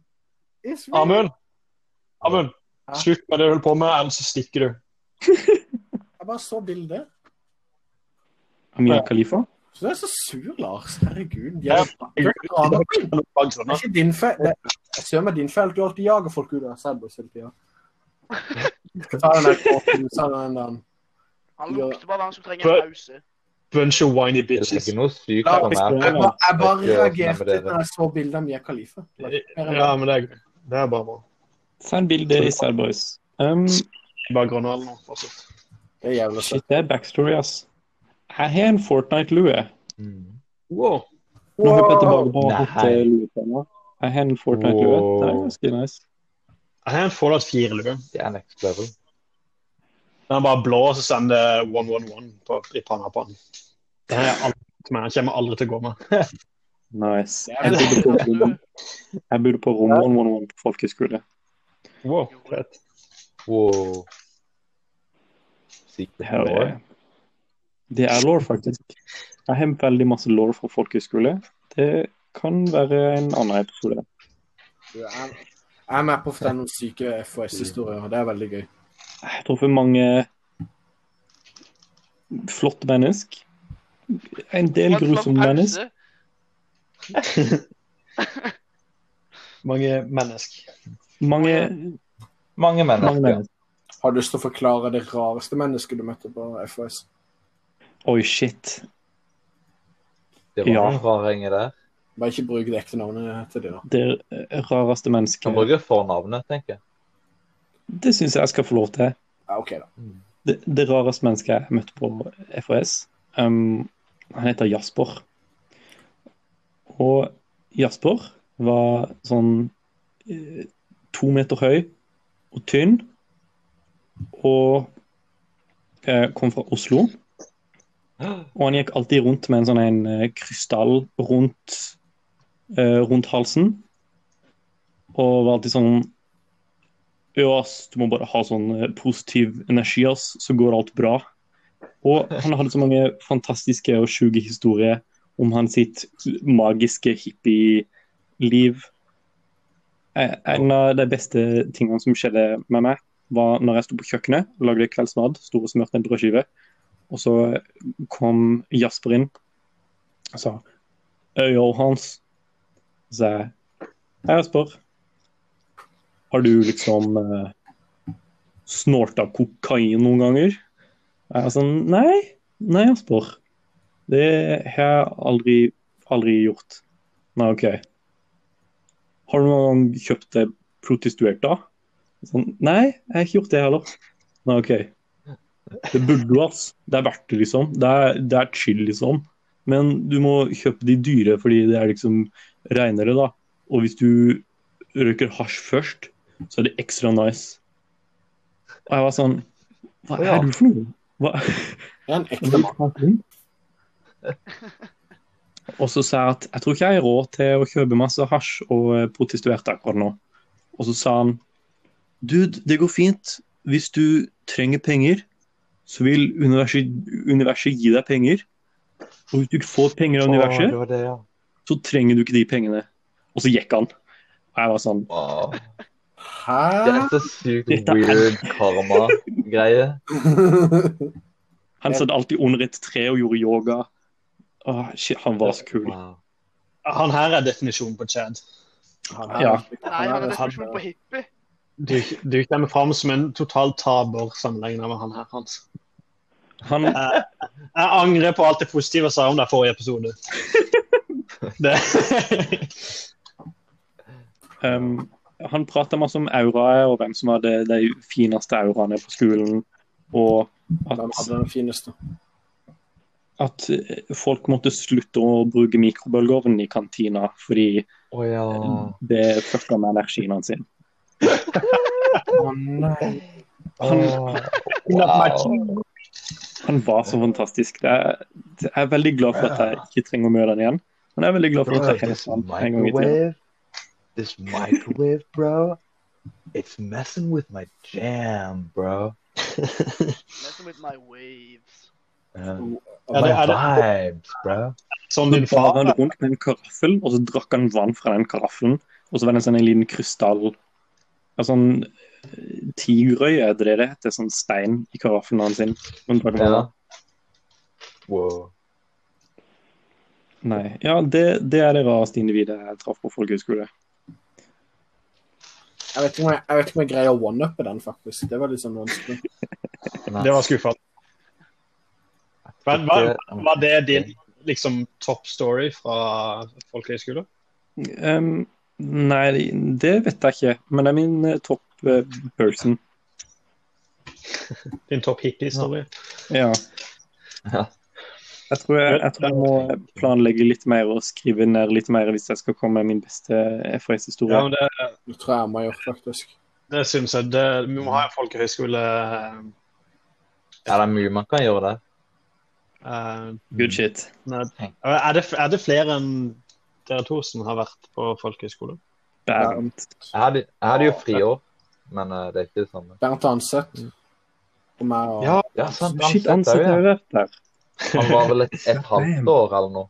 F: It's real.
A: Amund! Amund,
F: Hæ?
A: slutt med det du holder på med, ellers så stikker du.
F: Jeg bare så bildet.
B: Amir Khalifa?
F: Så du er så sur, Lars. Herregud.
A: Ja,
F: Ja, det er ikke din feil. Det er- Jeg ser meg din feil. Du alltid jager folk ut av Selbos hele tida. Ta den der kåpen, ta den der
C: Han
F: Ja.
C: lukter bare hvem som trenger
A: For-
C: en pause.
A: Bunch of whiny
D: Det er
A: bitches.
D: ikke noe sykt
F: Ja,
D: for meg.
F: Jeg bare, jeg bare
D: Ikke
F: reagerte
D: sånn med dere.
F: når jeg så bildet av Mia Khalifa.
A: Ja, men det er, det er bare bra.
B: Send bilde i Sad Boys. Um,
A: Bare grønne eller noe. altså.
F: Det er jævlig søtt.
B: shit, det er backstory, ass. Jeg har en Fortnite-lue.
D: Mm.
A: Wow.
B: Nå hopper jeg tilbake på
D: Wow.
B: hotellutdannet. Jeg har en Fortnite-lue.
D: Wow.
B: Det er ganske nice.
A: Jeg har en Fallout 4-lue.
D: Det er next level.
A: Den er bare blå, og så sender 111 på, i panna på den. Den har jeg aldri hatt med. Den kommer jeg aldri til å gå med.
B: Nice.
A: er
B: Jeg bodde på Rommen. Jeg bodde på Rommen 111 på folkehøyskole.
A: Wow, fett.
D: Wow. Sykt
B: Det her
D: bra.
B: er Det er law, faktisk. Jeg har veldig masse law fra folkehøyskole. Det kan være en annen episode.
F: Du, Jeg jeg er med på å fortelle noen syke FHS-historier. og Det er veldig gøy.
B: Jeg har truffet mange flotte mennesker. En del
C: Få en lang
B: grusomme
C: sånn pause.
B: mennesker.
A: Mange mennesker.
B: Mange,
D: Mange
B: mange
D: mennesker.
B: mennesker.
F: Har du lyst til å forklare det rareste mennesket du møtte på FHS?
B: Oi, shit.
D: Det var
B: Ja.
D: en rar henge der.
F: Bare ikke bruk det ekte navnet til det, da.
B: Det rareste
D: Kan
B: mennesket.
D: bruke fornavnet, tenker jeg.
B: Det syns jeg jeg skal få lov til.
F: Ja, OK, da.
B: det, det rareste mennesket jeg møtte på FHS, um, han heter Jasper. Og Jasper var sånn eh, to meter høy og tynn, og eh, kom fra Oslo. Og han gikk alltid rundt med en sånn en eh, krystall rundt, eh, rundt halsen. Og var alltid sånn Ja, ass, du må bare ha sånn eh, positiv energi, ass, så går alt bra. Og han hadde så mange fantastiske og sjuke historier om hans sitt magiske hippieliv. Eh, En av de beste tingene som skjedde med meg, var når jeg sto på kjøkkenet, lagde kveldsmat, sto og smurte en brødskive. Og så kom Jasper inn og sa «Øya hans. Så sa jeg Hei, Jasper. Har du liksom eh, snorta kokain noen ganger? Jeg er sånn Nei, nei, Asper. Det har jeg aldri, aldri gjort. Nei, OK. Har du noen gang kjøpt det prostituert, da? Sånn, nei, jeg har ikke gjort det heller. Nei, OK. Det burde du, ass. Det er verdt det, liksom. Det er, det er chill, liksom. Men du må kjøpe de dyre fordi det er liksom reinere, da. Og hvis du røyker hasj først, så er det ekstra nice. Og jeg var sånn Hva
D: Å, ja.
B: er du for noe? Hva?
F: Det er en ekte mann.
B: Og så sa jeg at jeg tror ikke jeg har råd til å kjøpe masse hasj og eh, protestuerte akkurat nå. Og så sa han Dude, det går fint. Hvis du trenger penger, så vil universet, universet gi deg penger. Og hvis du ikke får penger av universet,
D: det var det, ja.
B: så trenger du ikke de pengene. Og så gikk han. Og jeg var sånn
D: Wow. Det
F: Hæ?
D: er så sykt
B: Dette er-
D: weird karma-greie.
B: Han satt alltid under et tre og gjorde yoga. Åh, shit, han var så kul.
D: Wow.
A: Han her er definisjonen på Chad.
F: Han er-
B: Ja.
C: Nei, han er
A: Han-
C: definisjonen på hippie.
A: Du, du kommer fram som en total taper sammenlignet med han her, Hans.
B: Han,
A: Jeg angrer på alt det positive jeg sa om deg forrige episode. Det.
B: Um, han prata masse om auraer og hvem som hadde de fineste auraene på skolen. Og
F: Han
B: at,
F: hadde den fineste.
B: at eh, folk måtte slutte å bruke mikrobølgeovn i kantina fordi
D: Å ja.
B: det fucka med energien sin.
F: Å nei.
D: uh,
B: Han,
D: Wow.
B: han var så fantastisk. Det er, jeg er veldig glad for at jeg ikke trenger å møte han igjen. Men jeg er veldig glad for at jeg
D: This
B: kjenner han en gang i tida.
D: microwave, this microwave, bro, it's messing with my jam, bro.
C: Messing with my waves.
D: Uh,
A: Ja,
D: my
A: det er det.
D: vibes, bro.
A: Sånn
B: Så
A: din
B: bar
A: far
B: han rundt med en karaffel, og så drakk han vann fra den karaffelen. Og så var det en sånn en liten krystall en sånn eh, tigerøye, er det det det heter? Sånn stein i karaffelen hans. sin. Men drakk vann.
D: Ja. Wow.
B: Nei. Ja, det, det er det rareste individet jeg traff på folkehøyskole.
F: Jeg vet ikke om jeg, jeg, vet ikke om jeg greier å one-uppe den, faktisk. Det var litt sånn vanskelig.
A: Det var skuffende. Men var, var det din liksom, topp story fra folkehøyskole?
B: Ehm, nei, det vet jeg ikke. Men det er min eh, topp eh, person.
A: Din topp hippie-story?
B: Ja.
D: Ja.
B: Jeg tror jeg, jeg tror jeg må planlegge litt mer og skrive ned litt mer hvis jeg skal komme med min beste FRS-historie.
A: Ja, men det,
F: Det tror jeg jeg må gjøre, faktisk.
A: det syns jeg. Det, vi må ha en folkehøyskole
D: Er det mye man kan gjøre der?
A: eh,
B: Good shit.
A: er, det, er det flere enn dere to som har vært på folkehøyskole?
B: Bernt.
D: Jeg hadde, jeg hadde jo friår, men eh, det er ikke det samme.
F: Bernt Anseth. Og meg og
A: Mm. Ja.
D: Ja, sant,
B: Shit,
D: han
B: ansatte
D: satt
B: har
D: der, ja.
B: vært der.
D: Han var vel et, et halvt år eller noe.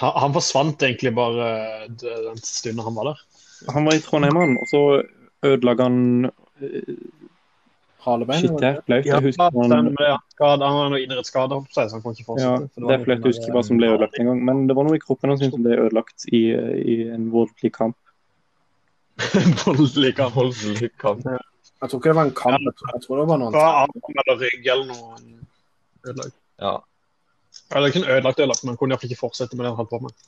A: Han, han forsvant egentlig bare d- den stunden han var der.
B: Han var i Trondheim, han, og så ødela han eh,
F: Halebein.
B: Shit, det er flaut.
A: Ja,
B: Jeg husker
A: den,
B: han
A: ble skade, han var noe idrettsskade, holdt på å si, så han kan ikke
B: ja,
A: fortsette. for
B: det er
A: var eh,
B: flaut. Jeg husker bare som ble ødelagt en gang. Men det var noe i kroppen hans som ble ødelagt i, eh, i en voldelig kamp.
A: voldelig kamp.
D: Voldelig kamp.
F: Jeg tror ikke det var en kamp. Jeg tror, jeg tror det var noe
A: Fra
F: annet.
A: arm eller rygg eller noe. han Ødelagt.
D: Ja.
A: Eller ikke en ødelagt, ødelagt, men han kunne iallfall ikke fortsette med det han holdt på med.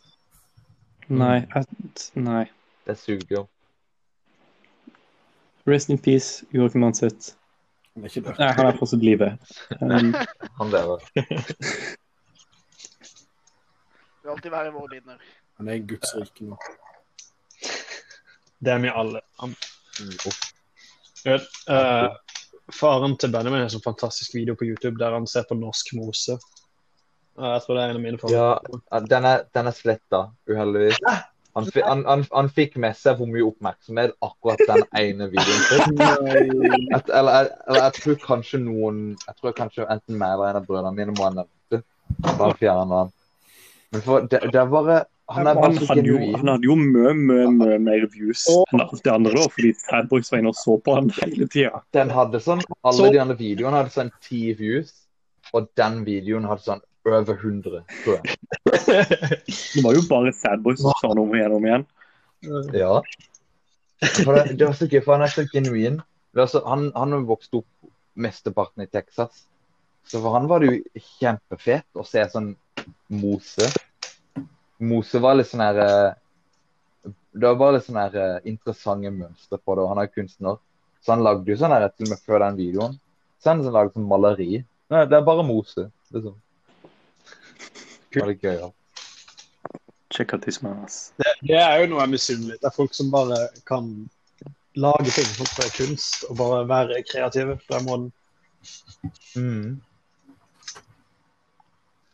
B: Nei, at, nei.
D: Det suger jo.
B: Rest in peace, Joakim Anseth.
F: Han er ikke død.
B: Nei, han er fortsatt i live. Um,
D: Han lever.
C: Vil alltid være i våre minner.
F: Han er i Guds rike nå.
A: Det er vi alle. Han,
D: Uff.
A: Eh, faren til Benjamin har en sånn fantastisk video på YouTube der han ser på norsk mose. Eh, jeg tror det er en av mine favoritter.
D: Ja, den er, den er sletta, uheldigvis. Han, fi- han, han, han fikk med seg hvor mye oppmerksomhet akkurat den ene videoen fikk.
F: Nei.
D: Et, eller, jeg- eller jeg tror kanskje noen Jeg tror kanskje enten meg eller en av brødrene mine må ha nevnt det. Bare fjernet han. Men for det, det er bare Han er
B: han,
D: bare så
B: hadde jo, han
D: genuin.
B: hadde jo mye, mye, mye mer views enn alt det andre, da, fordi Sadboys var inne og så på han hele tida.
D: Den hadde sånn Alle de andre videoene hadde sånn ti views, og den videoen hadde sånn over 100, tror jeg.
B: Det var jo bare Sadboys som sa noe om igjen og om igjen.
D: Ja. For det, det var så gøy, for han er så genuin. Det var så, han, han vokste opp mesteparten i Texas. Så for han var det jo kjempefett å se sånn Mose. Mose var litt sånn her eh, Det var bare litt sånn her eh, interessante mønstre på det, og han er kunstner. Så han lagde jo sånn her til og med før den videoen. Så han sånn lagde sånn maleri. Nei, det er bare Mose, liksom. Det var litt gøy, ja.
B: Check out this man, ass.
A: Det er jo noe jeg misunner litt. Det er folk som bare kan lage ting som er kunst, og bare være kreative på den måten.
D: Mm.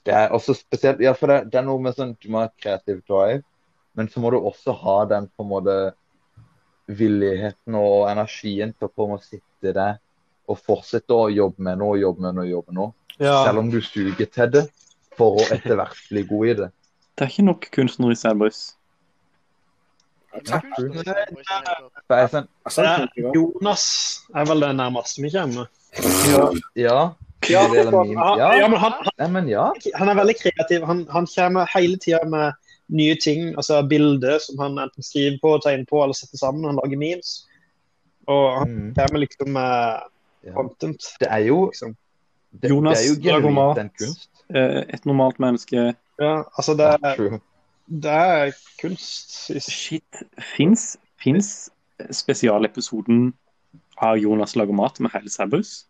D: Det er også spesielt Ja, for det, det er noe med sånn Du må ha kreativ drive, men så må du også ha den på en måte villigheten og energien til å på en måte sitte der og fortsette å jobbe med noe, jobbe med noe, jobbe med noe. Selv om du suger til det, for å etter hvert bli god i det.
B: Det er ikke nok kunstnerisk selvbrys.
C: Det er kunstnerisk, det er altså. bare sånn,
D: For jeg er sånn,
F: Jeg sa det ikke, da.
A: Jonas er vel det nærmeste vi kommer.
D: ja,
A: Ja,
D: det er min, ja,
A: ja, men han,
D: nei, men ja.
A: han er veldig kreativ. Han, han kommer hele tida med nye ting, altså bilder som han enten skriver på, tegner på eller setter sammen. Han lager memes. Og han
D: Mm,
A: kommer liksom med
D: ja.
A: content.
D: Det er jo
A: Liksom.
D: det,
B: Jonas
D: det er jo
B: lager mat.
D: genuint en kunst.
B: Eh, Et normalt menneske
A: Ja, altså det,
D: Ja,
A: er-
D: true.
A: det er kunst. i s-
B: Shit. Fins Fins spesialepisoden av Jonas lager mat med hele Sæbus?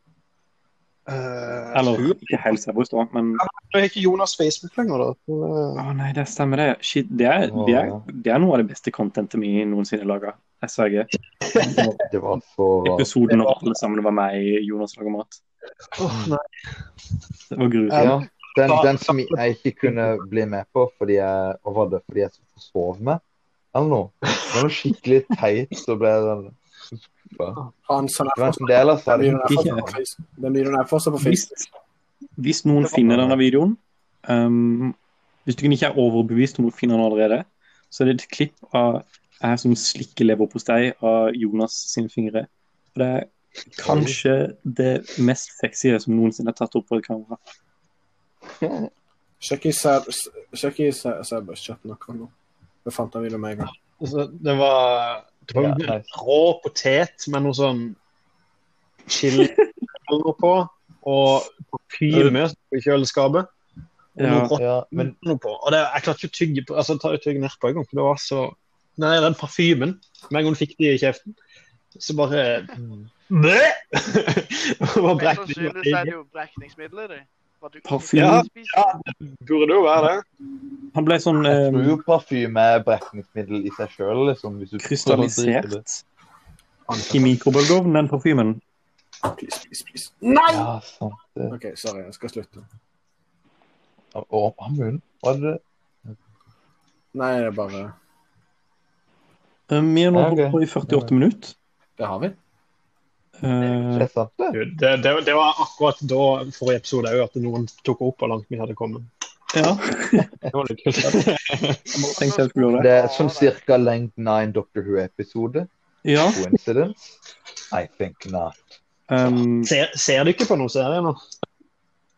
A: eh,
B: Eller
A: tror-
B: ikke hele Sæbus, da, men
A: Nå har ikke Jonas Facebook lenger, da.
B: Å
A: Men,
B: nei, det stemmer, det. Shit, det er, det er, det er noe av det beste contentet vi noensinne laga. Jeg sverger.
D: Det var så
B: Episoden når alle sammen var med i Jonas lager mat.
A: eh, åh, nei.
B: Det var grusomt.
D: Ja, den,
A: Da-
D: den som jeg ikke kunne bli med på fordi jeg, og var det fordi jeg forsov meg, eller noe. Det var noe skikkelig teit, så ble jeg sånn
F: Han som
D: Det
F: er
D: var
F: fortsatt-
D: en del av
F: Den
D: det.
F: videoen er fortsatt på Facebook. Den videoen er fortsatt på
B: Hvis,
F: Facebook.
B: hvis noen finner denne videoen um, Hvis du ikke er overbevist om å finne den allerede, så er det et klipp av jeg som slikker leverpostei av Jonas sine fingre. Og det er kanskje det mest sexy som noensinne er tatt opp på et kamera.
F: Sjekk i Sab- sjekk i Sa- Sabus-chatten akkurat nå. Da fant jeg videoen med en gang.
A: Altså, det var, det var
D: Ja,
A: en
D: nice.
A: rå potet med noe sånn chili eller på, og parfyme i kjøleskapet. Og
B: Ja.
A: noe rått
D: Ja, men
A: Mm. noe på. Og det, jeg klarte ikke å tygge på, altså, ta tygge nedpå engang, for det var så Nei, den parfymen. Med en gang du fikk det i kjeften, så bare Mm. Bæ! Det var
C: Mest
A: brekning.
C: sannsynlig så er det jo brekningsmidler, det. Hva du ikke
B: Parfyme.
C: kan spise.
A: Ja, Burde jo være det.
B: Han ble sånn
D: jeg tror
B: um,
D: jo parfyme er brekningsmiddel i seg sjøl, liksom. Hvis du
B: krystallisert i mikrobølgeovnen, den parfymen.
F: Please, please, please. Nei!
D: Ja, sant det.
F: OK, sorry. Jeg skal slutte.
D: Og munnen. Var det det?
F: Nei, det er bare
B: Um, vi har nå
D: Ja, ok.
B: holdt på i 48 minutter.
F: Det har vi.
D: Det
B: Uh,
D: er sant, det.
A: Det, det, det var akkurat da forrige episode òg, at noen tok opp hvor langt vi hadde kommet.
B: ja,
A: Det var litt kult.
B: jeg bare tenkte jeg skulle gjøre det.
D: Det er sånn cirka lengden av en Doctor Who-episode.
B: Ja,
D: Coincidence? I think not.
B: um,
A: Ser, ser du ikke på noen serie nå?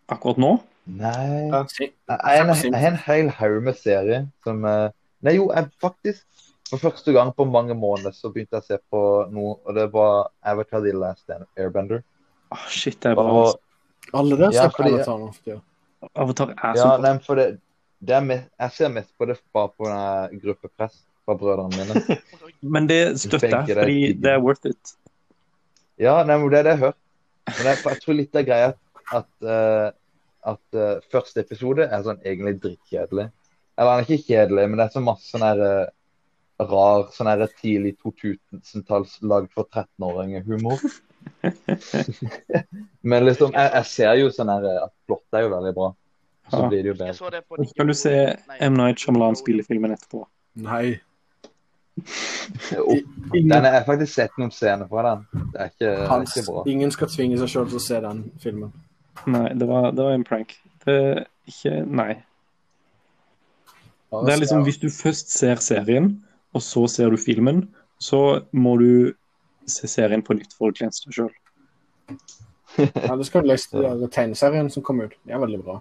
B: akkurat nå.
D: Nei
A: Ja.
D: Jeg er en, jeg er en hel haug med serier som eh, Nei, jo, jeg faktisk For første gang på mange måneder så begynte jeg å se på noe, og det var Avatar The Last Stand- Airbender.
B: Åh, Ah, shit, det er bra.
D: Og,
F: Alle der
D: Ja,
F: snakker
D: fordi-
F: Avatar nå for tida.
B: Avatar er
D: ja,
B: så bra.
D: nei, for det, det er mest, jeg ser mest på det bare på denne gruppepress fra brødrene mine.
B: Men det støtter jeg,
D: Begge der
B: fordi
D: tidlig.
B: det er worth it.
D: Ja, nei, men det er det jeg har hørt. Men jeg, for jeg tror litt av greia at, at, eh, at eh, første episode er sånn egentlig drittkjedelig. Eller han er ikke kjedelig, men det er så masse sånn her eh, rar sånn her tidlig 2000-talls lagd for 13-åringer-humor. men liksom, jeg, jeg ser jo sånn her eh, at plottet er jo veldig bra. Så
B: Ja.
D: blir det jo
C: Jeg
D: bedre.
C: så det på
B: Og så kan du se M. Night Shyamalan spille filmen etterpå.
F: Nei.
D: Jo, Den er, jeg har faktisk sett noen scener fra den. Det er ikke, det er
F: Hans,
D: ikke bra.
F: ingen skal tvinge seg sjøl til å se den filmen.
B: Nei, det var, det var en prank. Det er ikke Nei.
F: Bare
B: Det er
F: se
B: liksom
F: den.
B: hvis du først ser serien, og så ser du filmen, så må du se serien på nytt for å glede deg sjøl.
F: Ja, du skal lese den der tegneserien som kom ut. Det er veldig bra.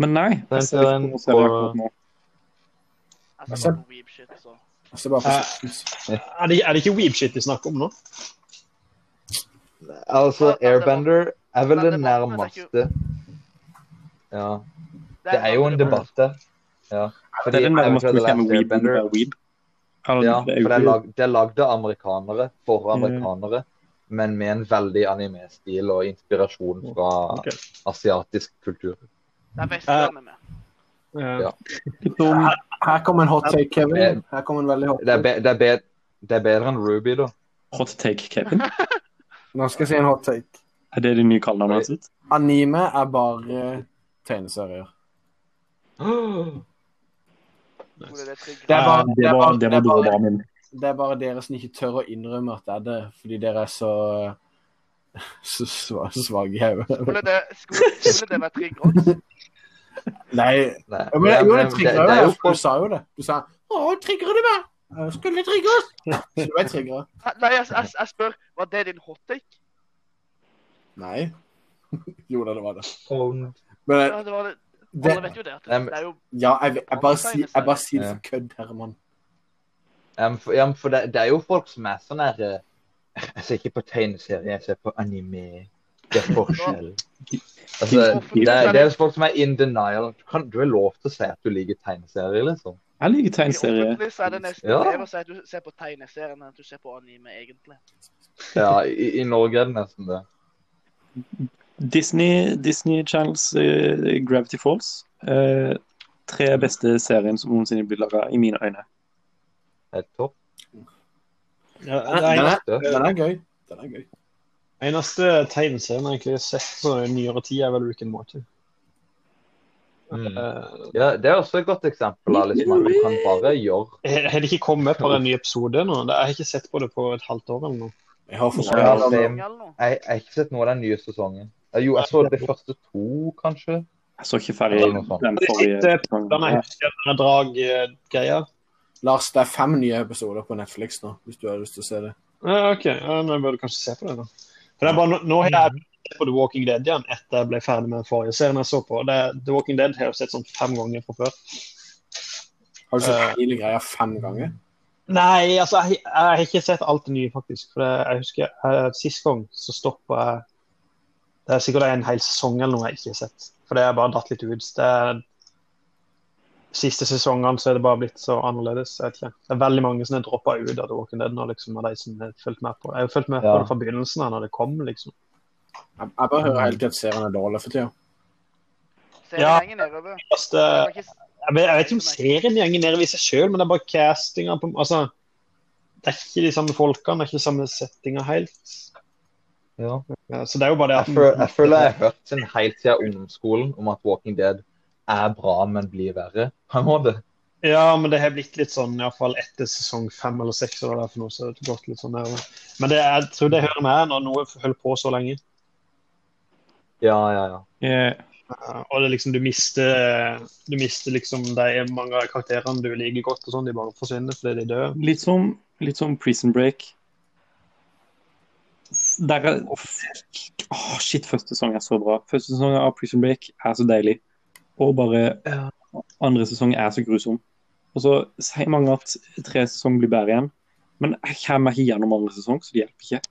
B: Men nei,
D: Den
B: jeg ser ikke
D: serien
B: noen serie
D: på-
B: akkurat nå.
C: Altså, Jeg ser på weeb shit, så.
F: Og så Altså, bare
D: Eh,
F: for-
A: Er det, er det ikke weeb-shit de snakker om nå?
D: Altså,
C: Ja,
D: Airbender er vel
C: men
D: det
C: debatten er ikke-
D: nærmeste. Ja. Det er jo en debatt der. Ja. Fordi
B: Det er den
D: I
B: nærmeste
D: Am
B: vi kommer
D: the Last
B: weeb enn å
D: Airbender-
B: være weeb. Eller,
D: Ja,
B: det er jo
D: for det er,
B: ikke-
D: lag, det er lagd av amerikanere for amerikanere, men med en veldig anime-stil og inspirasjon fra
A: Ok.
D: asiatisk kultur.
C: Det er Vestlandet med.
A: Eh,
D: Ja.
F: Her, her kommer en hot take, Kevin.
D: Det-
F: Her kommer en veldig hot
D: Eh, Det er,
F: take.
D: be, det er, be, det er bedre enn Ruby, da.
B: Hot take, Kevin.
F: Nå skal jeg si en hot take.
B: Er det det nye kallenavnet hans? sitt?
F: Anime er bare tegneserier.
C: Hvor er det trygg?
F: Det er bare,
B: Ah, Det
F: det er
B: var,
F: bare,
B: det var
F: det er bare,
B: dårlig min.
F: det er bare dere som ikke tør å innrømme at det er det, fordi dere er så så sva- svake i hodet.
C: Skulle det, skulle, skulle det vært trygg odds?
F: Nei,
D: Nei,
F: Ja, men,
D: det-
F: jo, det
D: det- det
F: trigger
D: er jo
F: jo det. Du sa jo det. Du sa 'Å, trigger du meg?' Jeg Skulle trigge oss? Så du er trigga?
C: Nei, jeg, jeg, jeg spør, var det din hot take?
F: Nei. Jo da, det var det.
D: folk-
F: Men eh,
C: Ja, det var det. Alle
F: det
C: vet jo det. at
D: Nei, men-
C: Det er jo
F: Ja, jeg, jeg bare sier jeg bare sier det for kødd, Herman.
D: Ja, men for, ja, men for det, det er jo folk som er sånn her eh, Jeg ser ikke på tegneserier, jeg ser på anime. Det er forskjell. Altså, det, er- det er jo folk som er in denial. Du, kan, du er lov til å si at du liker tegneserier, liksom.
B: Jeg liker
C: i
B: tegneserier.
C: offentlig så er det nesten
D: Ja.
C: bedre å si at du ser på tegneserien enn at du ser på anime, egentlig.
D: Ja, i, i Norge er det nesten det.
B: Disney, Disney Channels eh, Gravity Falls. eh, tre beste serien som noensinne blir laga, i mine øyne.
D: Det er topp.
A: ja,
F: Den
A: det
F: er,
D: Det.
F: den er gøy. Den er gøy.
A: eneste tegneserien jeg egentlig har sett sånn i nyere tid, er vel Rick and Morty.
D: Mm.
A: Eh,
D: Ja, det er også et godt eksempel. da, Liksom, at du kan bare gjøre
A: har har det ikke kommet bare en ny episode nå? Det- Jeg har ikke sett på det på et halvt år eller noe.
F: Jeg har
D: Ja,
C: Er
F: forstått.
C: det
D: same.
C: mange eller noe?
D: jeg, jeg har ikke sett noe av den nye sesongen. Eh, Jo, jeg så de første to, kanskje.
B: Jeg så ikke ferdig
D: Eller noe sånt.
B: den
A: Det
B: forrige
A: siste
B: sesongen.
A: Den er den er eh, drag-greia.
F: Lars, det er fem nye episoder på Netflix nå, hvis du har lyst til å se det.
A: Ja, OK. Ja, nå bør du kanskje se på det, da. For det er bare, nå- nå har jeg sett på The Walking Dead igjen etter jeg ble ferdig med den forrige serien jeg så på. Det, The Walking Dead har jeg jo sett sånn fem ganger fra før.
F: Har du
A: Eh.
F: sett hele greia fem ganger?
A: Nei, altså, jeg, jeg har ikke sett alt det nye, faktisk. For det, jeg husker eh, Sist gang så stoppa jeg Det er sikkert en hel sesong eller noe jeg ikke har sett. For det har bare dratt litt ut. Det er, siste sesongene så er det bare blitt så annerledes. Jeg vet ikke. Det er veldig mange som har droppa ut av The Walking Dead nå, liksom, av de som har fulgt med på Jeg har fulgt med på
D: Ja.
A: det fra begynnelsen av, når det kom, liksom.
F: Jeg, jeg bare hører hele tiden at serien er dårlig for tida.
C: Serien
A: Ja.
C: henger nedover.
A: Første,
C: Det var ikke-
A: Altså, Jeg vet, jeg vet ikke om serien gjenger ned i seg sjøl, men det er bare castinga på Altså, det er ikke de samme folkene, det er ikke de samme settinga helt.
D: Ja.
A: Ja, Eh, Så det er jo bare det at
D: Jeg, føl, jeg føler jeg har hørt sin helt siden ungdomsskolen om at Walking Dead er bra, men blir verre. På en måte.
A: Ja, men det har blitt litt sånn, iallfall etter sesong fem eller seks, eller hva det er for noe, så har det gått litt sånn nedover. Men det, jeg tror det hører med når noe holder på så lenge.
D: Ja, ja, ja.
B: Ja,
A: Ja, Og det er liksom, du mister Du mister liksom de mange av karakterene du liker godt, og sånn, de bare forsvinner fordi de dør.
B: Litt som, litt som Prison Break. Der er Åh, Shit, første sesong er så bra. Første sesong av Prison Break er så deilig. Og bare
A: Ja.
B: andre sesong er så grusom. Og så sier mange at tre sesong blir bedre igjen. Men jeg kommer ikke gjennom andre sesong, så det hjelper ikke.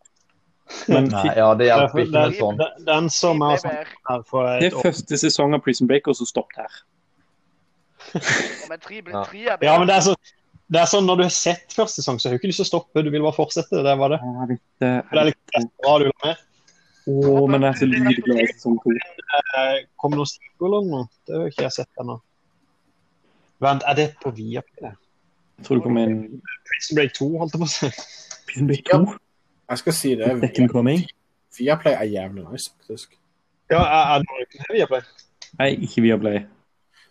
B: Men
D: Nei, ja, det hjelper ikke med
A: Den-
D: sånn.
A: den- Den som
C: Nei,
A: er
C: det
A: sånn
C: er-
A: her for
B: det
A: et
B: er
A: år
B: første sesong av Prison Break, og så stopp der.
C: Men tre blir
D: Ja.
C: tre er bedre.
A: Ja, men det er, så, det er sånn når du har sett første sesong, så har du ikke lyst til å stoppe. Du vil bare fortsette. Det var det.
B: Jeg vet det.
A: Det er litt bra du vil ha med.
B: Åh, men jeg er så livglad i sesong to.
A: Eh, Kom det noen stikkord eller noe? Det har jo ikke jeg sett ennå. Vent, er det på Viaplay?
B: Jeg tror det kommer en
A: Prison Break 2, holdt jeg på å si.
B: Prison Break 2.
F: Jeg skal si det.
B: Second coming.
F: Viaplay er jævlig nice, faktisk.
A: Ja, er- er det noen uten Viaplay?
B: Nei, ikke Viaplay.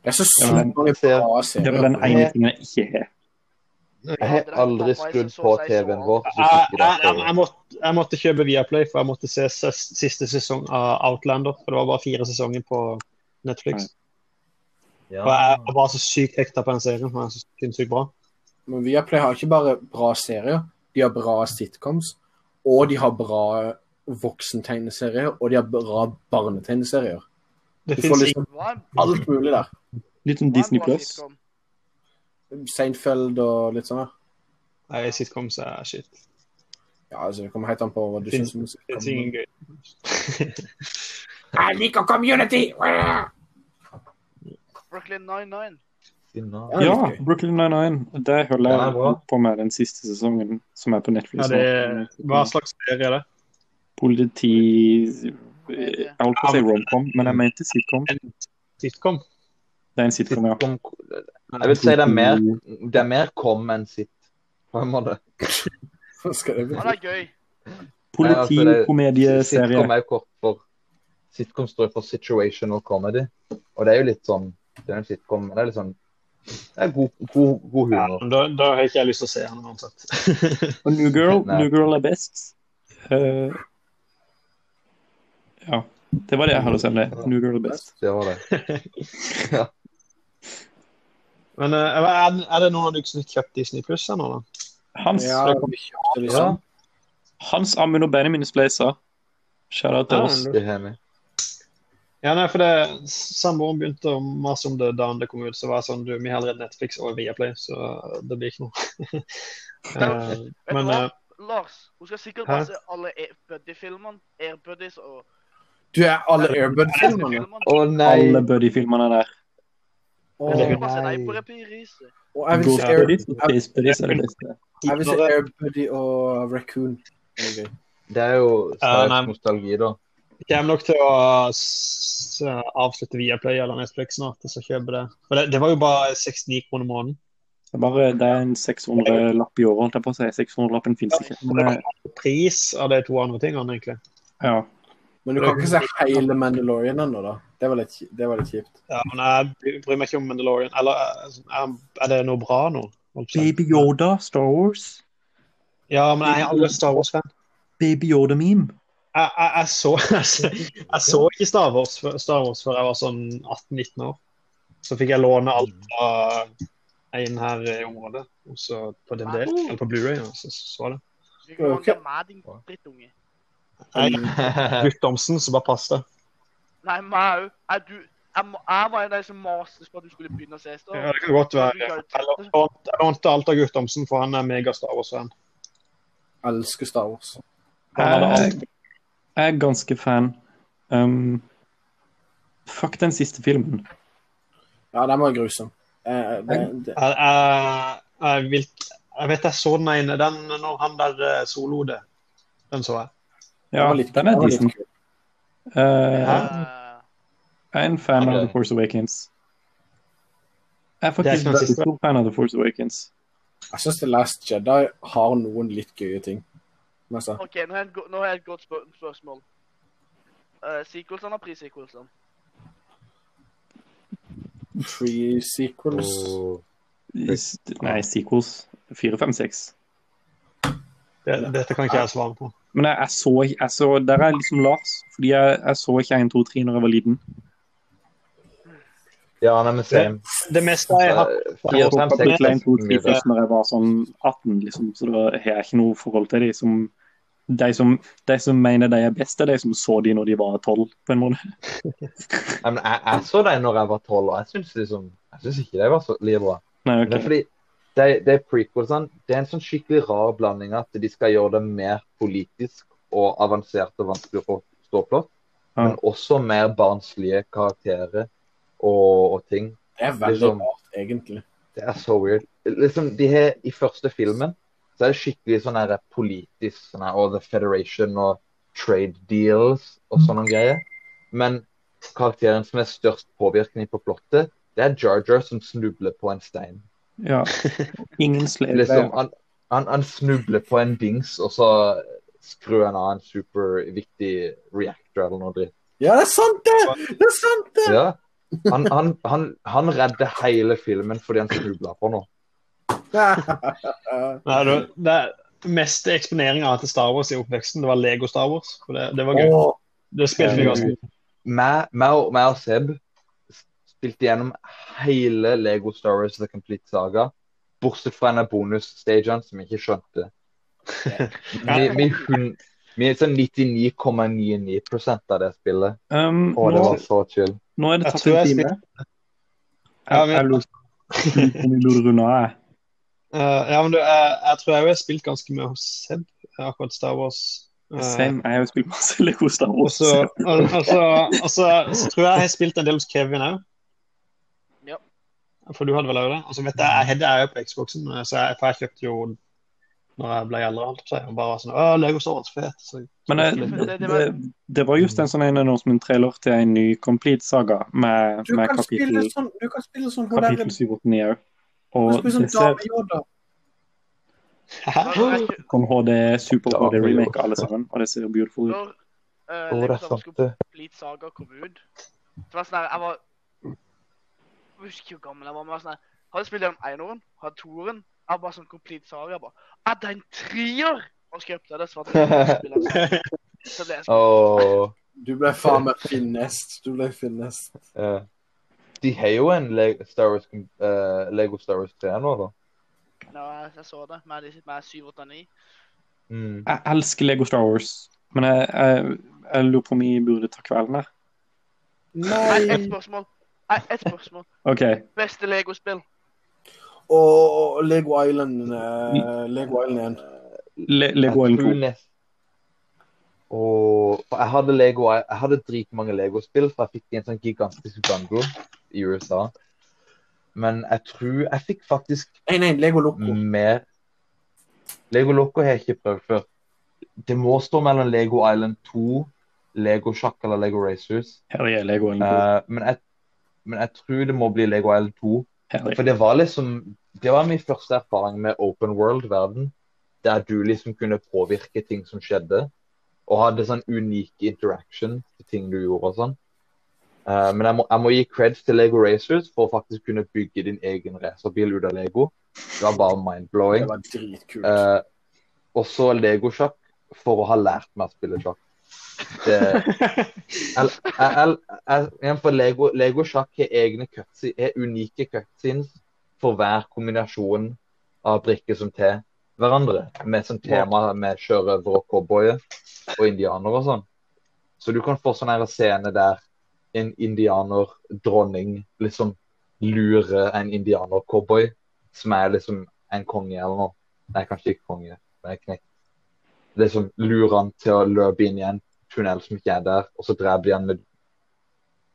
F: Det er så
B: Ja,
F: sykt mange
D: ser-
F: bra
B: Det
F: serier.
B: var den ene tingen jeg ikke har.
D: Jeg har aldri skrudd på TV-en vår. hvis
A: Jeg,
D: ikke
A: jeg,
D: det er
A: Eh, jeg,
D: TV.
A: jeg, måtte, jeg måtte kjøpe Viaplay, for jeg måtte se ses- siste sesong av Outlander. For det var bare fire sesonger på Netflix. Og jeg jeg var så sykt hekta på den serien. Den er så sinnssykt bra.
F: Men Viaplay har ikke bare bra serier, de har bra sitcoms, og de har bra voksentegneserier, og de har bra barnetegneserier.
A: Det
F: Du
A: finnes
F: får liksom alt mulig der.
B: sånn Litt som Disney Plus.
F: Seinfeld og litt sånn der.
A: Nei, sitcoms er shit.
F: Ja, altså, Det kommer helt an på hva du
A: Finnes-
F: syns om musikk.
A: Det er ingen gøy.
F: Jeg liker community!
C: Brooklyn 99.
D: Finna.
F: Ja,
B: Ja,
F: litt gøy.
B: Brooklyn Nine-Nine. Det holder
D: Ja,
B: jeg
D: bra.
B: på med den siste sesongen, som er på
A: Ja,
B: Netflix. nå.
A: det er, hva slags serie er det?
B: Politi Jeg holdt på å si romcom, men jeg mente sitcom.
A: Sitcom?
B: Det er en sitcom, ja.
D: Sitcom- Jeg vil si det er mer, det er mer kom enn sitt, på en måte.
F: Hva skal det bli?
C: Han er gøy.
D: Sitcom
B: Politikomedieserie.
D: er jo kort for Sitcom står for situational comedy. Og det er jo litt sånn Det er en sitcom, men det er litt sånn Det er god, god, god
A: Ja,
D: humor.
A: da, da har ikke jeg lyst til å se den uansett.
B: Og New Girl,
D: Nei.
B: New Girl er best. Eh, ja. Det var det jeg hadde å si om det. New Girl er best.
D: Det var det.
A: Men eh, er, er det noen av dere som har kjøpt Disney Pluss ennå, da?
B: Hans,
F: Ja, vi kjøpte liksom.
B: Hans Amund og Benjamin Spleiser. Shout-out til
A: Ja,
B: oss.
D: Det har vi.
A: Ja, nei, for det Samboeren begynte å mase om det da det kom ut, så var jeg sånn Du, vi har allerede Netflix og Viaplay, så eh, det blir ikke noe. Eh,
C: Vet
A: men
C: du hva?
A: eh,
C: Lars, hun skal sikkert
A: Hæ?
C: bare se alle Air Buddy-filmene. Air Buddies og
F: Du er alle Airbud-filmene.
C: Buddy-filmene.
D: Å
B: Alle
D: nei!
B: buddy-filmene der.
F: Og,
C: Jeg
A: Eller-
C: skal bare se deg
A: Nei.
C: på reprise.
F: og jeg vil
B: Ghost
F: se Air-
B: Buddies og Space Buddies er det beste.
F: jeg vil se
A: når-
F: Airbuddy og Raccoon. Det er gøy.
D: Det er jo
A: Ja, nei.
D: sterk nostalgi, da.
A: Jeg kommer nok til å s- eh, avslutte Viaplay eller Netflix snart, og så kjøpe det. For det, det var jo bare 69 kroner i måneden.
B: Det er bare det er en 600-lapp i året, holdt jeg på å si. 600-lappen fins ikke. Men, eh,
A: Pris av de to andre tingene, egentlig.
B: ja.
F: Men du kan ikke se hele Mandalorian ennå, da. Det var litt, ki- det var litt kjipt.
A: Ja, men jeg bry- bryr meg ikke om Mandalorian. Eller eh, er, er det noe bra nå? Holdt på å si.
B: Baby Yoda, Star Wars.
A: Ja, men jeg er aldri Star Wars-fan.
B: Baby Yoda-meme.
A: Jeg, jeg, jeg, så, jeg så ikke Star Wars, før- Star Wars før jeg var sånn 18-19 år. Så fikk jeg låne alt av en her i området, og så på DVD eller på Blu-ray, og så så det.
C: Du kan
F: Ok.
C: mange med din drittunge.
A: Jeg Guttomsen, så bare pass det.
C: Nei, meg òg. Er du jeg, må, jeg var en av de som maste på at du skulle begynne å se Star
A: Ja,
C: Wars.
A: det kan godt være.
C: Du
A: Jeg
C: kan jo
A: lånte- jeg lånte alt av Guttomsen, for han er mega Star Wars-fan.
F: Jeg elsker Star Wars.
A: Han hadde
B: Jeg,
A: alt.
B: jeg er ganske fan. Um, fuck den siste filmen.
F: Ja, den var grusom. Eh, det, det.
A: Jeg, jeg, jeg, vil, jeg vet jeg så den ene, den når han der eh, solo det. Den så jeg.
B: Ja,
F: var litt-
B: den er
F: var litt
B: decent.
F: kul.
B: Uh,
C: Eh,
B: jeg er en fan av
D: Ja.
B: The Force Awakens. Jeg er
A: Det er
B: faktisk
A: ikke den
B: veldig
A: siste.
B: stor fan av The Force Awakens.
F: Jeg syns The Last Jedi har noen litt gøye ting. Men altså, så,
C: OK, nå har jeg, et go- nå har jeg et godt spør spørsmål. Uh, sequelsene og pre-sequelsene.
F: pre-sequels
D: Og-
B: S- Nei, sequels. Fire, fem, seks.
A: Det, dette kan ikke jeg svare på.
B: Men jeg, jeg, så, jeg så Der er jeg liksom Lars, fordi jeg, jeg så ikke 1, 2, 3 når jeg var liten.
D: Ja, nei, men same. Eh,
A: Det meste jeg har
B: Jeg
D: Fire,
B: tok
D: fem,
B: opp
D: seks
B: litt Line 2, 3
D: mye bra.
B: først når jeg var sånn 18, liksom, så da har jeg ikke noe forhold til de som de som, de som mener de er best, er de som så de når de var 12, på en måte.
D: Nei, men jeg, jeg så dem når jeg var tolv, og jeg syns liksom Jeg syns ikke de var så like bra.
B: Nei,
D: Det er
B: ok.
D: fordi de, de prequelsene Det er en sånn skikkelig rar blanding at de skal gjøre det mer politisk og avansert og vanskelig å forstå plott,
B: Ja.
D: men også mer barnslige karakterer og, og ting.
F: Det er veldig
D: Liksom-
F: rart, egentlig.
D: Det er så weird. Liksom, de har, I første filmen så er det skikkelig sånn her politisk sånn her, og The Federation og trade deals og sånne greier. Men karakteren som er størst påvirkning på plottet, det er Jar Jar som snubler på en stein.
B: Ja. Ingen slave.
D: liksom, han, han, han snubler på en dings, og så skrur han av en superviktig reactor eller noe dritt.
F: Ja, det er sant, det! Det er sant, det!
D: Ja. Han, han, han, han redder hele filmen fordi han snubla på noe.
F: Eh,
A: Nei, det, det meste eksponeringa til Star Wars i oppveksten, det var Lego Star Wars. og Det, det var gøy.
F: Åh,
A: Det spilte vi ganske mye.
D: Meg meg og, meg og Seb spilte gjennom hele Lego Star Wars The Complete Saga, bortsett fra en av bonusstagene som jeg ikke skjønte. Vi, vi, hun, vi er sånn 99,99 av det spillet.
B: Um,
D: Å, det
B: nå,
D: var så chill.
B: nå er det
A: Jeg
B: tatt
A: tror
B: en
A: jeg
B: time.
A: Ja,
B: Jeg, jeg
A: men-
B: lurer på om vi burde runde av. jeg.
A: Eh, ja, men du, jeg, jeg tror jeg har spilt ganske mye hos Seb, eh, akkurat Star Wars. Eh,
B: Same. Jeg har jo spilt masse Lego Star
A: og
B: Wars.
A: så al- altså, altså, så tror jeg jeg har spilt en del hos Kevin òg.
C: Ja.
A: For du hadde vel òg det? Altså, vet jeg, Hedda er jo på Xboxen, eh, så jeg, for jeg kjøpte jo når jeg ble eldre. holdt jeg på å si, og bare var sånn, Å, Lego Star Wars, fett. Så,
B: Men eh,
A: så-
B: det, det, det var just en sånn en announcement-trailer til en ny Complete Saga med,
F: Du
B: med
F: kan spille
B: kapittel,
F: sånn Du kan spille sånn hun der
B: kapittel 789 òg.
F: Du kan
B: Og
F: spille sånn
B: det ser
F: Dame Yoda.
C: Når, jeg-
B: som HD, Super
D: Ja,
B: HD
D: jo.
B: remake alle sammen, og det ser beautiful ut.
C: når eh,
D: Å, det er
C: Lego Star Wars
D: sant,
C: skulle
D: det.
C: Bleach Saga kom ut Det var sånn her, jeg var Jeg husker ikke hvor gammel jeg var, men jeg var sånn her Har du spilt gjennom eneren? Har du toeren? Jeg var bare sånn Complete Saga. Jeg bare Er det en trier?! Og så kjøpte jeg det, så var det ikke spillet. Så ble jeg sånn
D: Og
F: Du ble faen meg finest. Du ble finest.
D: eh, De har jo en Le Star Wars, eh, Lego Star Wars 3 nå, da.
C: Ja, jeg, jeg så det. Med, de- med 789.
D: Mm.
B: Jeg elsker Lego Star Wars, men jeg, jeg, jeg lurer på om vi burde ta kvelden her.
C: Nei, ett
F: Nei!
C: spørsmål. Nei, ett spørsmål.
B: OK.
C: Beste Lego-spill?
F: Og Lego Island eh, Lego Island 1.
B: Le Lego Island 2.
D: nest... Og for jeg hadde Lego Jeg hadde dritmange Lego-spill, for jeg fikk de i en sånn gigantisk bundle i USA. Men jeg tror Jeg fikk faktisk
F: Nei, nei, Lego Loco.
D: mer Lego Loco har jeg ikke prøvd før. Det må stå mellom Lego Island 2, Lego Sjakk eller Lego Racers.
B: Her er Lego Island 2.
D: Eh, men, jeg, men jeg tror det må bli Lego Island 2.
B: Her
D: For
B: er.
D: det var liksom Det var min første erfaring med open world-verden. Der du liksom kunne påvirke ting som skjedde. Og hadde sånn unik interaction til ting du gjorde og sånn. Eh, men jeg må, jeg må gi creds til Lego Racers for å faktisk kunne bygge din egen racerbil ut av Lego. Det var bare mind-blowing.
F: Det var dritkult.
D: Eh, og så Lego-sjakk for å ha lært meg å spille sjakk. Det, jeg, jeg, jeg, igjen, for Lego, Lego sjakk har egne cutscenes, har unike cutscenes for hver kombinasjon av brikker som til hverandre. Med sånn tema med sjørøvere og cowboyer og indianere og sånn. Så du kan få sånn her scene der en indianerdronning liksom lurer en indianer-cowboy, som er liksom en konge eller noe. Nei, kanskje ikke konge, men en knekt. Liksom lurer han til å løpe inn i en tunnel som ikke er der, og så dreper de han med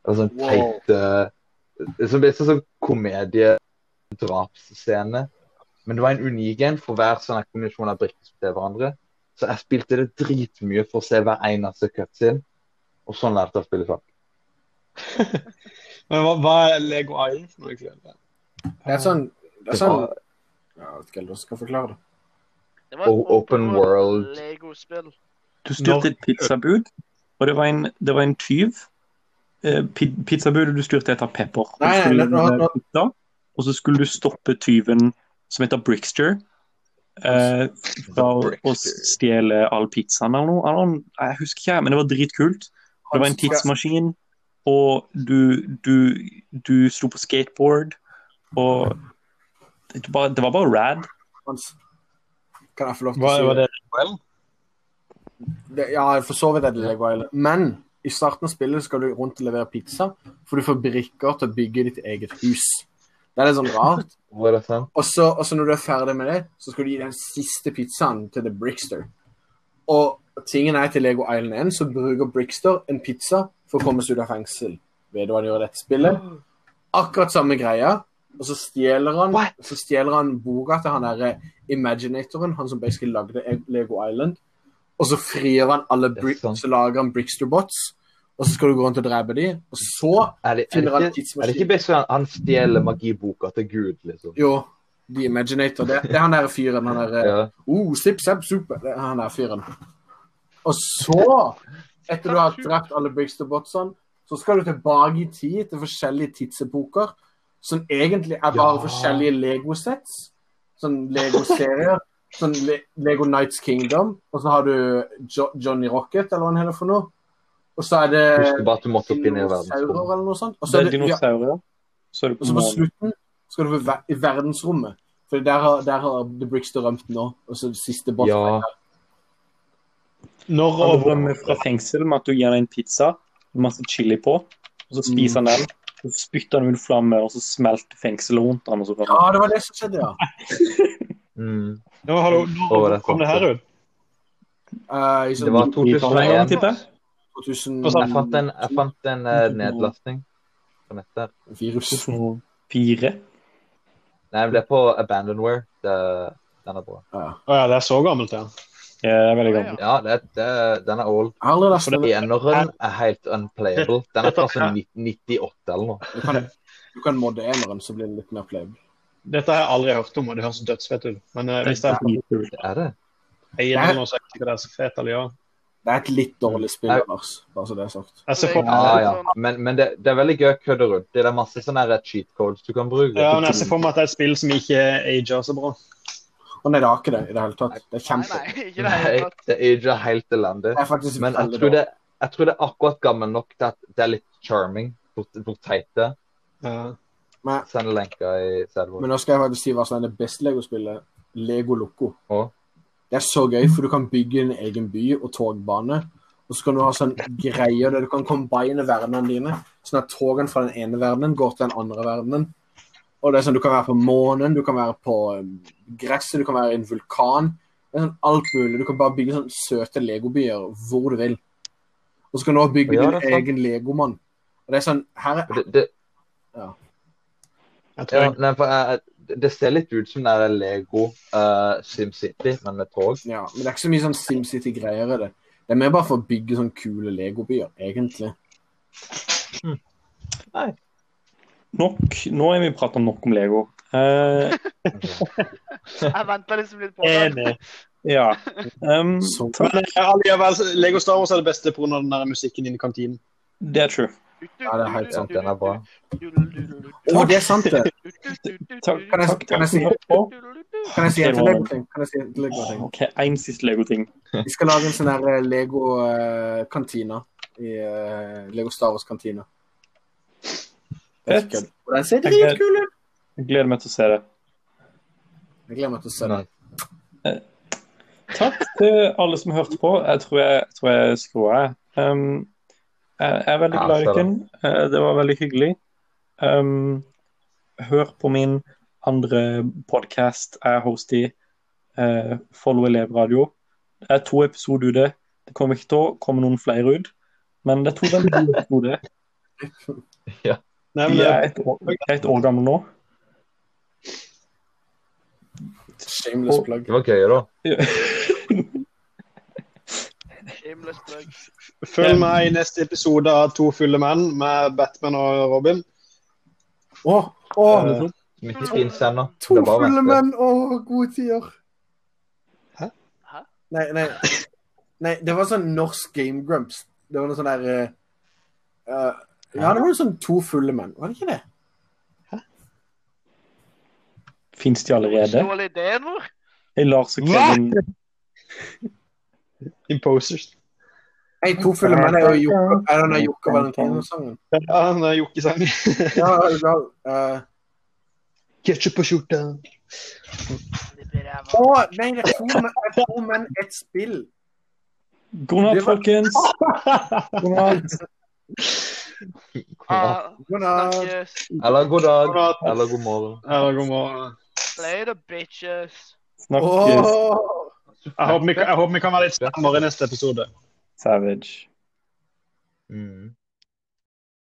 D: en sånn
F: Wow.
D: teite Det blir sånn sånn komediedrapsscene. Men det var en unik en for hver sånn her kombinasjon av brikker som til hverandre. Så jeg spilte det dritmye for å se hver eneste cutscene, og sånn lærte jeg å spille sjakk.
A: Men hva, hva er Lego Island for noe? egentlig?
F: Det er sånn det er
D: Det
F: sånn,
D: var
F: Jeg vet ikke helt hvordan jeg skal forklare det.
C: Det var et
D: O- open world.
C: Lego-spill.
B: Du styrte et pizzabud, og det var en, det var en tyv. Eh, pi- Pizzabudet du styrte etter pepper. Og
F: Nei,
B: du skulle
F: nei, nå- nå-
B: lage pizza, og så skulle du stoppe tyven som heter Brickster, eh, fra å- å stjele all pizzaen eller noe. Eller, noe. jeg husker ikke, men det var dritkult. Det var en tidsmaskin, og du, du, du sto på skateboard, og det var, det var bare rad.
F: Hans, Kan jeg få lov til
A: Hva
F: å si
A: var
F: det?
A: det? Well?
F: det? Ja, for så vidt er det Lego Island. Men i starten av spillet skal du rundt og levere pizza, for du får brikker til å bygge ditt eget hus. Det er litt sånn rart.
D: Var det sant?
F: Og så, og så når du er ferdig med det, så skal du gi den siste pizzaen til The Brickster. Og tingen er til Lego Island 1, så bruker Brickster en pizza for å komme seg ut av fengsel. Vet du hva han gjør i dette spillet? Akkurat samme greia. Og så stjeler han,
D: What?
F: så stjeler han boka til han derre Imaginatoren, han som basically lagde E- Lego Island. Og så frigjør han alle
D: Det er
F: brick,
D: sant.
F: så lager han Brickster-bots, og så skal du gå rundt og drepe dem. Og så
D: Er det, er det
F: finner
D: ikke,
F: han
D: er det ikke
F: tidsmaskinen.
D: best at han stjeler magiboka til Gud, liksom?
F: Jo, The Imaginator. Det, det er han der fyren. Han der,
D: Ja.
F: Oh, zip, zap, super. Det er han der fyren. Og så, etter du har drept alle Bigsterbotsene, så skal du tilbake i tid til forskjellige tidsepoker, som egentlig er bare
D: Ja.
F: forskjellige Lego-sets. Sånn Lego-serier. Sånn Le Lego Nights Kingdom, og så har du jo Johnny Rocket, eller hva han heter for noe. Og så er det
D: Husker bare at du måtte opp i
F: dinosaurer,
D: verdensrommet.
F: eh, eller noe sånt. Og så
B: Det
F: er
B: er
F: det, ja,
B: dinosaurer. Så er det
F: og
B: på
F: så på
B: månen.
F: slutten skal du på ver i verdensrommet. For der har, der har The Brickster rømt nå. Og så siste boss
D: Ja.
A: Når
B: Han
A: og hvor?
F: Mm.
B: rømmer fra fengsel med at du gir deg en pizza med masse chili på, og så spiser han den, Så spytter han ut flammer, og så smelter fengselet rundt han, og så
F: Ja, det var det som skjedde, ja.
D: Mm.
A: Ja, men hallo,
D: Å, det
A: når
D: er
A: kom det her ut?
F: Eh, i sånn
D: Det var
B: Flammer,
D: 2001.
B: tipper jeg.
F: 2000
A: Og så-
D: Jeg fant en, jeg fant en eh, nedlastning på nettet.
F: virus.
B: Fire.
D: Nei, det ble på Abandonware. Det, den er bra.
F: Ja.
A: Å ja, det er så gammelt, ja.
B: Ja, det er veldig gammel.
D: Ja, det, det, den er old.
F: Jeg har aldri lest den.
D: Eneren er helt unplayable. Den er fra sånn 98 eller noe.
F: Du kan, du kan modde eneren, så blir det litt mer playable.
A: Dette har jeg aldri hørt om, og det høres dødsfett ut. Men eh, hvis det er
B: Dritkult.
D: Det er det.
A: eier eller noe, så er det sikkert det er så fet, eller ja.
F: Det er et litt dårlig spill,
D: Nei.
F: Lars. Bare så det er sagt.
A: Jeg ser for
D: Ja,
A: meg,
D: ja. Men, men det, det er sånn- veldig gøy å kødde rundt. Det er masse sånne her cheat codes du kan bruke.
A: ja, men jeg ser for meg at det er et spill som ikke ager så bra.
F: Å nei, det har ikke det i det hele tatt. Det er
C: Nei,
F: kjempe...
C: nei, ikke det hele
D: Nei,
C: tatt.
D: det er ikke helt elendig.
F: Det er faktisk
D: Men jeg
F: veldig
D: tror,
F: dårlig.
D: det, jeg tror det er akkurat gammel nok til at det er litt charming. Hvor hvor teit det er.
A: Ja.
D: Send lenka i Sadwood.
F: Men nå skal jeg faktisk si hva som er det beste Lego-spillet. Lego Loco.
D: Å.
F: Det er så gøy, for du kan bygge en egen by og togbane. Og så kan du ha sånn greier der du kan combine verdenene dine. Sånn at togene fra den ene verdenen går til den andre verdenen. Og det er sånn, Du kan være på månen, du kan være på um, gresset, du kan være i en vulkan. Det er sånn alt mulig. Du kan bare bygge sånn søte legobyer hvor du vil. Og så kan du også bygge
D: Ja, det er
F: din
D: sant.
F: egen legomann. Og det er sånn, her er
D: Det, det,
A: Jeg tror
D: ja,
A: jeg,
D: nei, for jeg, det ser litt ut som det er Lego eh, SimCity, men med tog.
F: Ja, men det er ikke så mye sånn SimCity-greier i det. Det er mer bare for å bygge sånne kule legobyer, egentlig.
B: Nok. Nå har vi pratet nok om Lego. Eh,
C: Jeg venta liksom litt på det.
A: enig.
B: ja. Um,
F: Så-
B: takk.
A: Men eh, allikevel, Lego Star Wars er det beste pga. den der musikken inne i kantinen.
B: Det er true.
F: Ja, det er helt sant,
D: den er bra.
F: Å, det er sant, det!
B: Takk,
F: Kan jeg-
B: takk,
F: kan
B: takk
F: jeg si-
B: for at du hørte på.
F: Kan jeg si en til legoting? Kan jeg si en til legoting?
B: Ok, en siste Lego-ting.
F: Vi skal lage en sånn her eh, Lego-kantina. I eh, Lego Star Wars-kantina. Det er
B: Fett.
F: ikke kødd. Og Den ser dritkul ut!
B: Jeg gleder meg til å se det.
F: Jeg gleder meg til å se den.
D: Nei.
B: Takk til alle som hørte på. Jeg tror jeg, jeg, tror jeg skrur av. Um, jeg jeg er veldig
D: Ja,
B: glad i
D: så da.
B: dere. Eh, Det var veldig hyggelig. Um, hør på min andre podkast jeg er host i, eh, Follo elevradio. Det er to episoder ute. Det kommer ikke til å komme noen flere ut, men det er to veldig gode episoder.
A: Nei, men eh,
B: De
A: det
B: er et år, et år gamle nå.
F: Shameless plug.
D: Det var gøy, da.
C: Shameless plug.
A: Følg meg i neste episode av To fulle menn med Batman og Robin.
F: Å, å!
A: Eh,
D: Som ikke skal innsende.
F: To
D: Det er bare å
F: fulle
D: vente.
F: menn og gode tider.
A: Hæ?
C: Hæ?
F: Nei, nei. nei, det var sånn norsk Game Grumps. Det var noe sånn der eh, eh, Ja, det var jo sånn to fulle menn, var det ikke det?
B: Fins de allerede?
C: Stjålet ideen vår?
B: Jeg Lars og
A: Hva?
B: Kevin
A: Imposers.
F: Nei, to fulle menn er jo Jokke Er det den der Jokke Valentine-sangen?
A: Ja, han er jokkesang.
F: Ja, jeg er glad. Eh,
A: Ketchup på skjorta.
C: Det blir ræva.
F: Å, nei, det er to menn, det er to menn ett spill.
B: God natt,
F: Det var-
B: folkens. God natt.
D: Ja.
C: Ah,
F: God natt.
C: Snakkes.
D: Eller god dag.
A: God natt.
D: Eller god morgen.
A: Eller god morgen.
C: Later, bitches.
B: Snakkes.
F: Åh.
A: Jeg håper vi, kan- jeg håper vi kan være litt strammere i neste episode.
B: Savage.
D: Mm.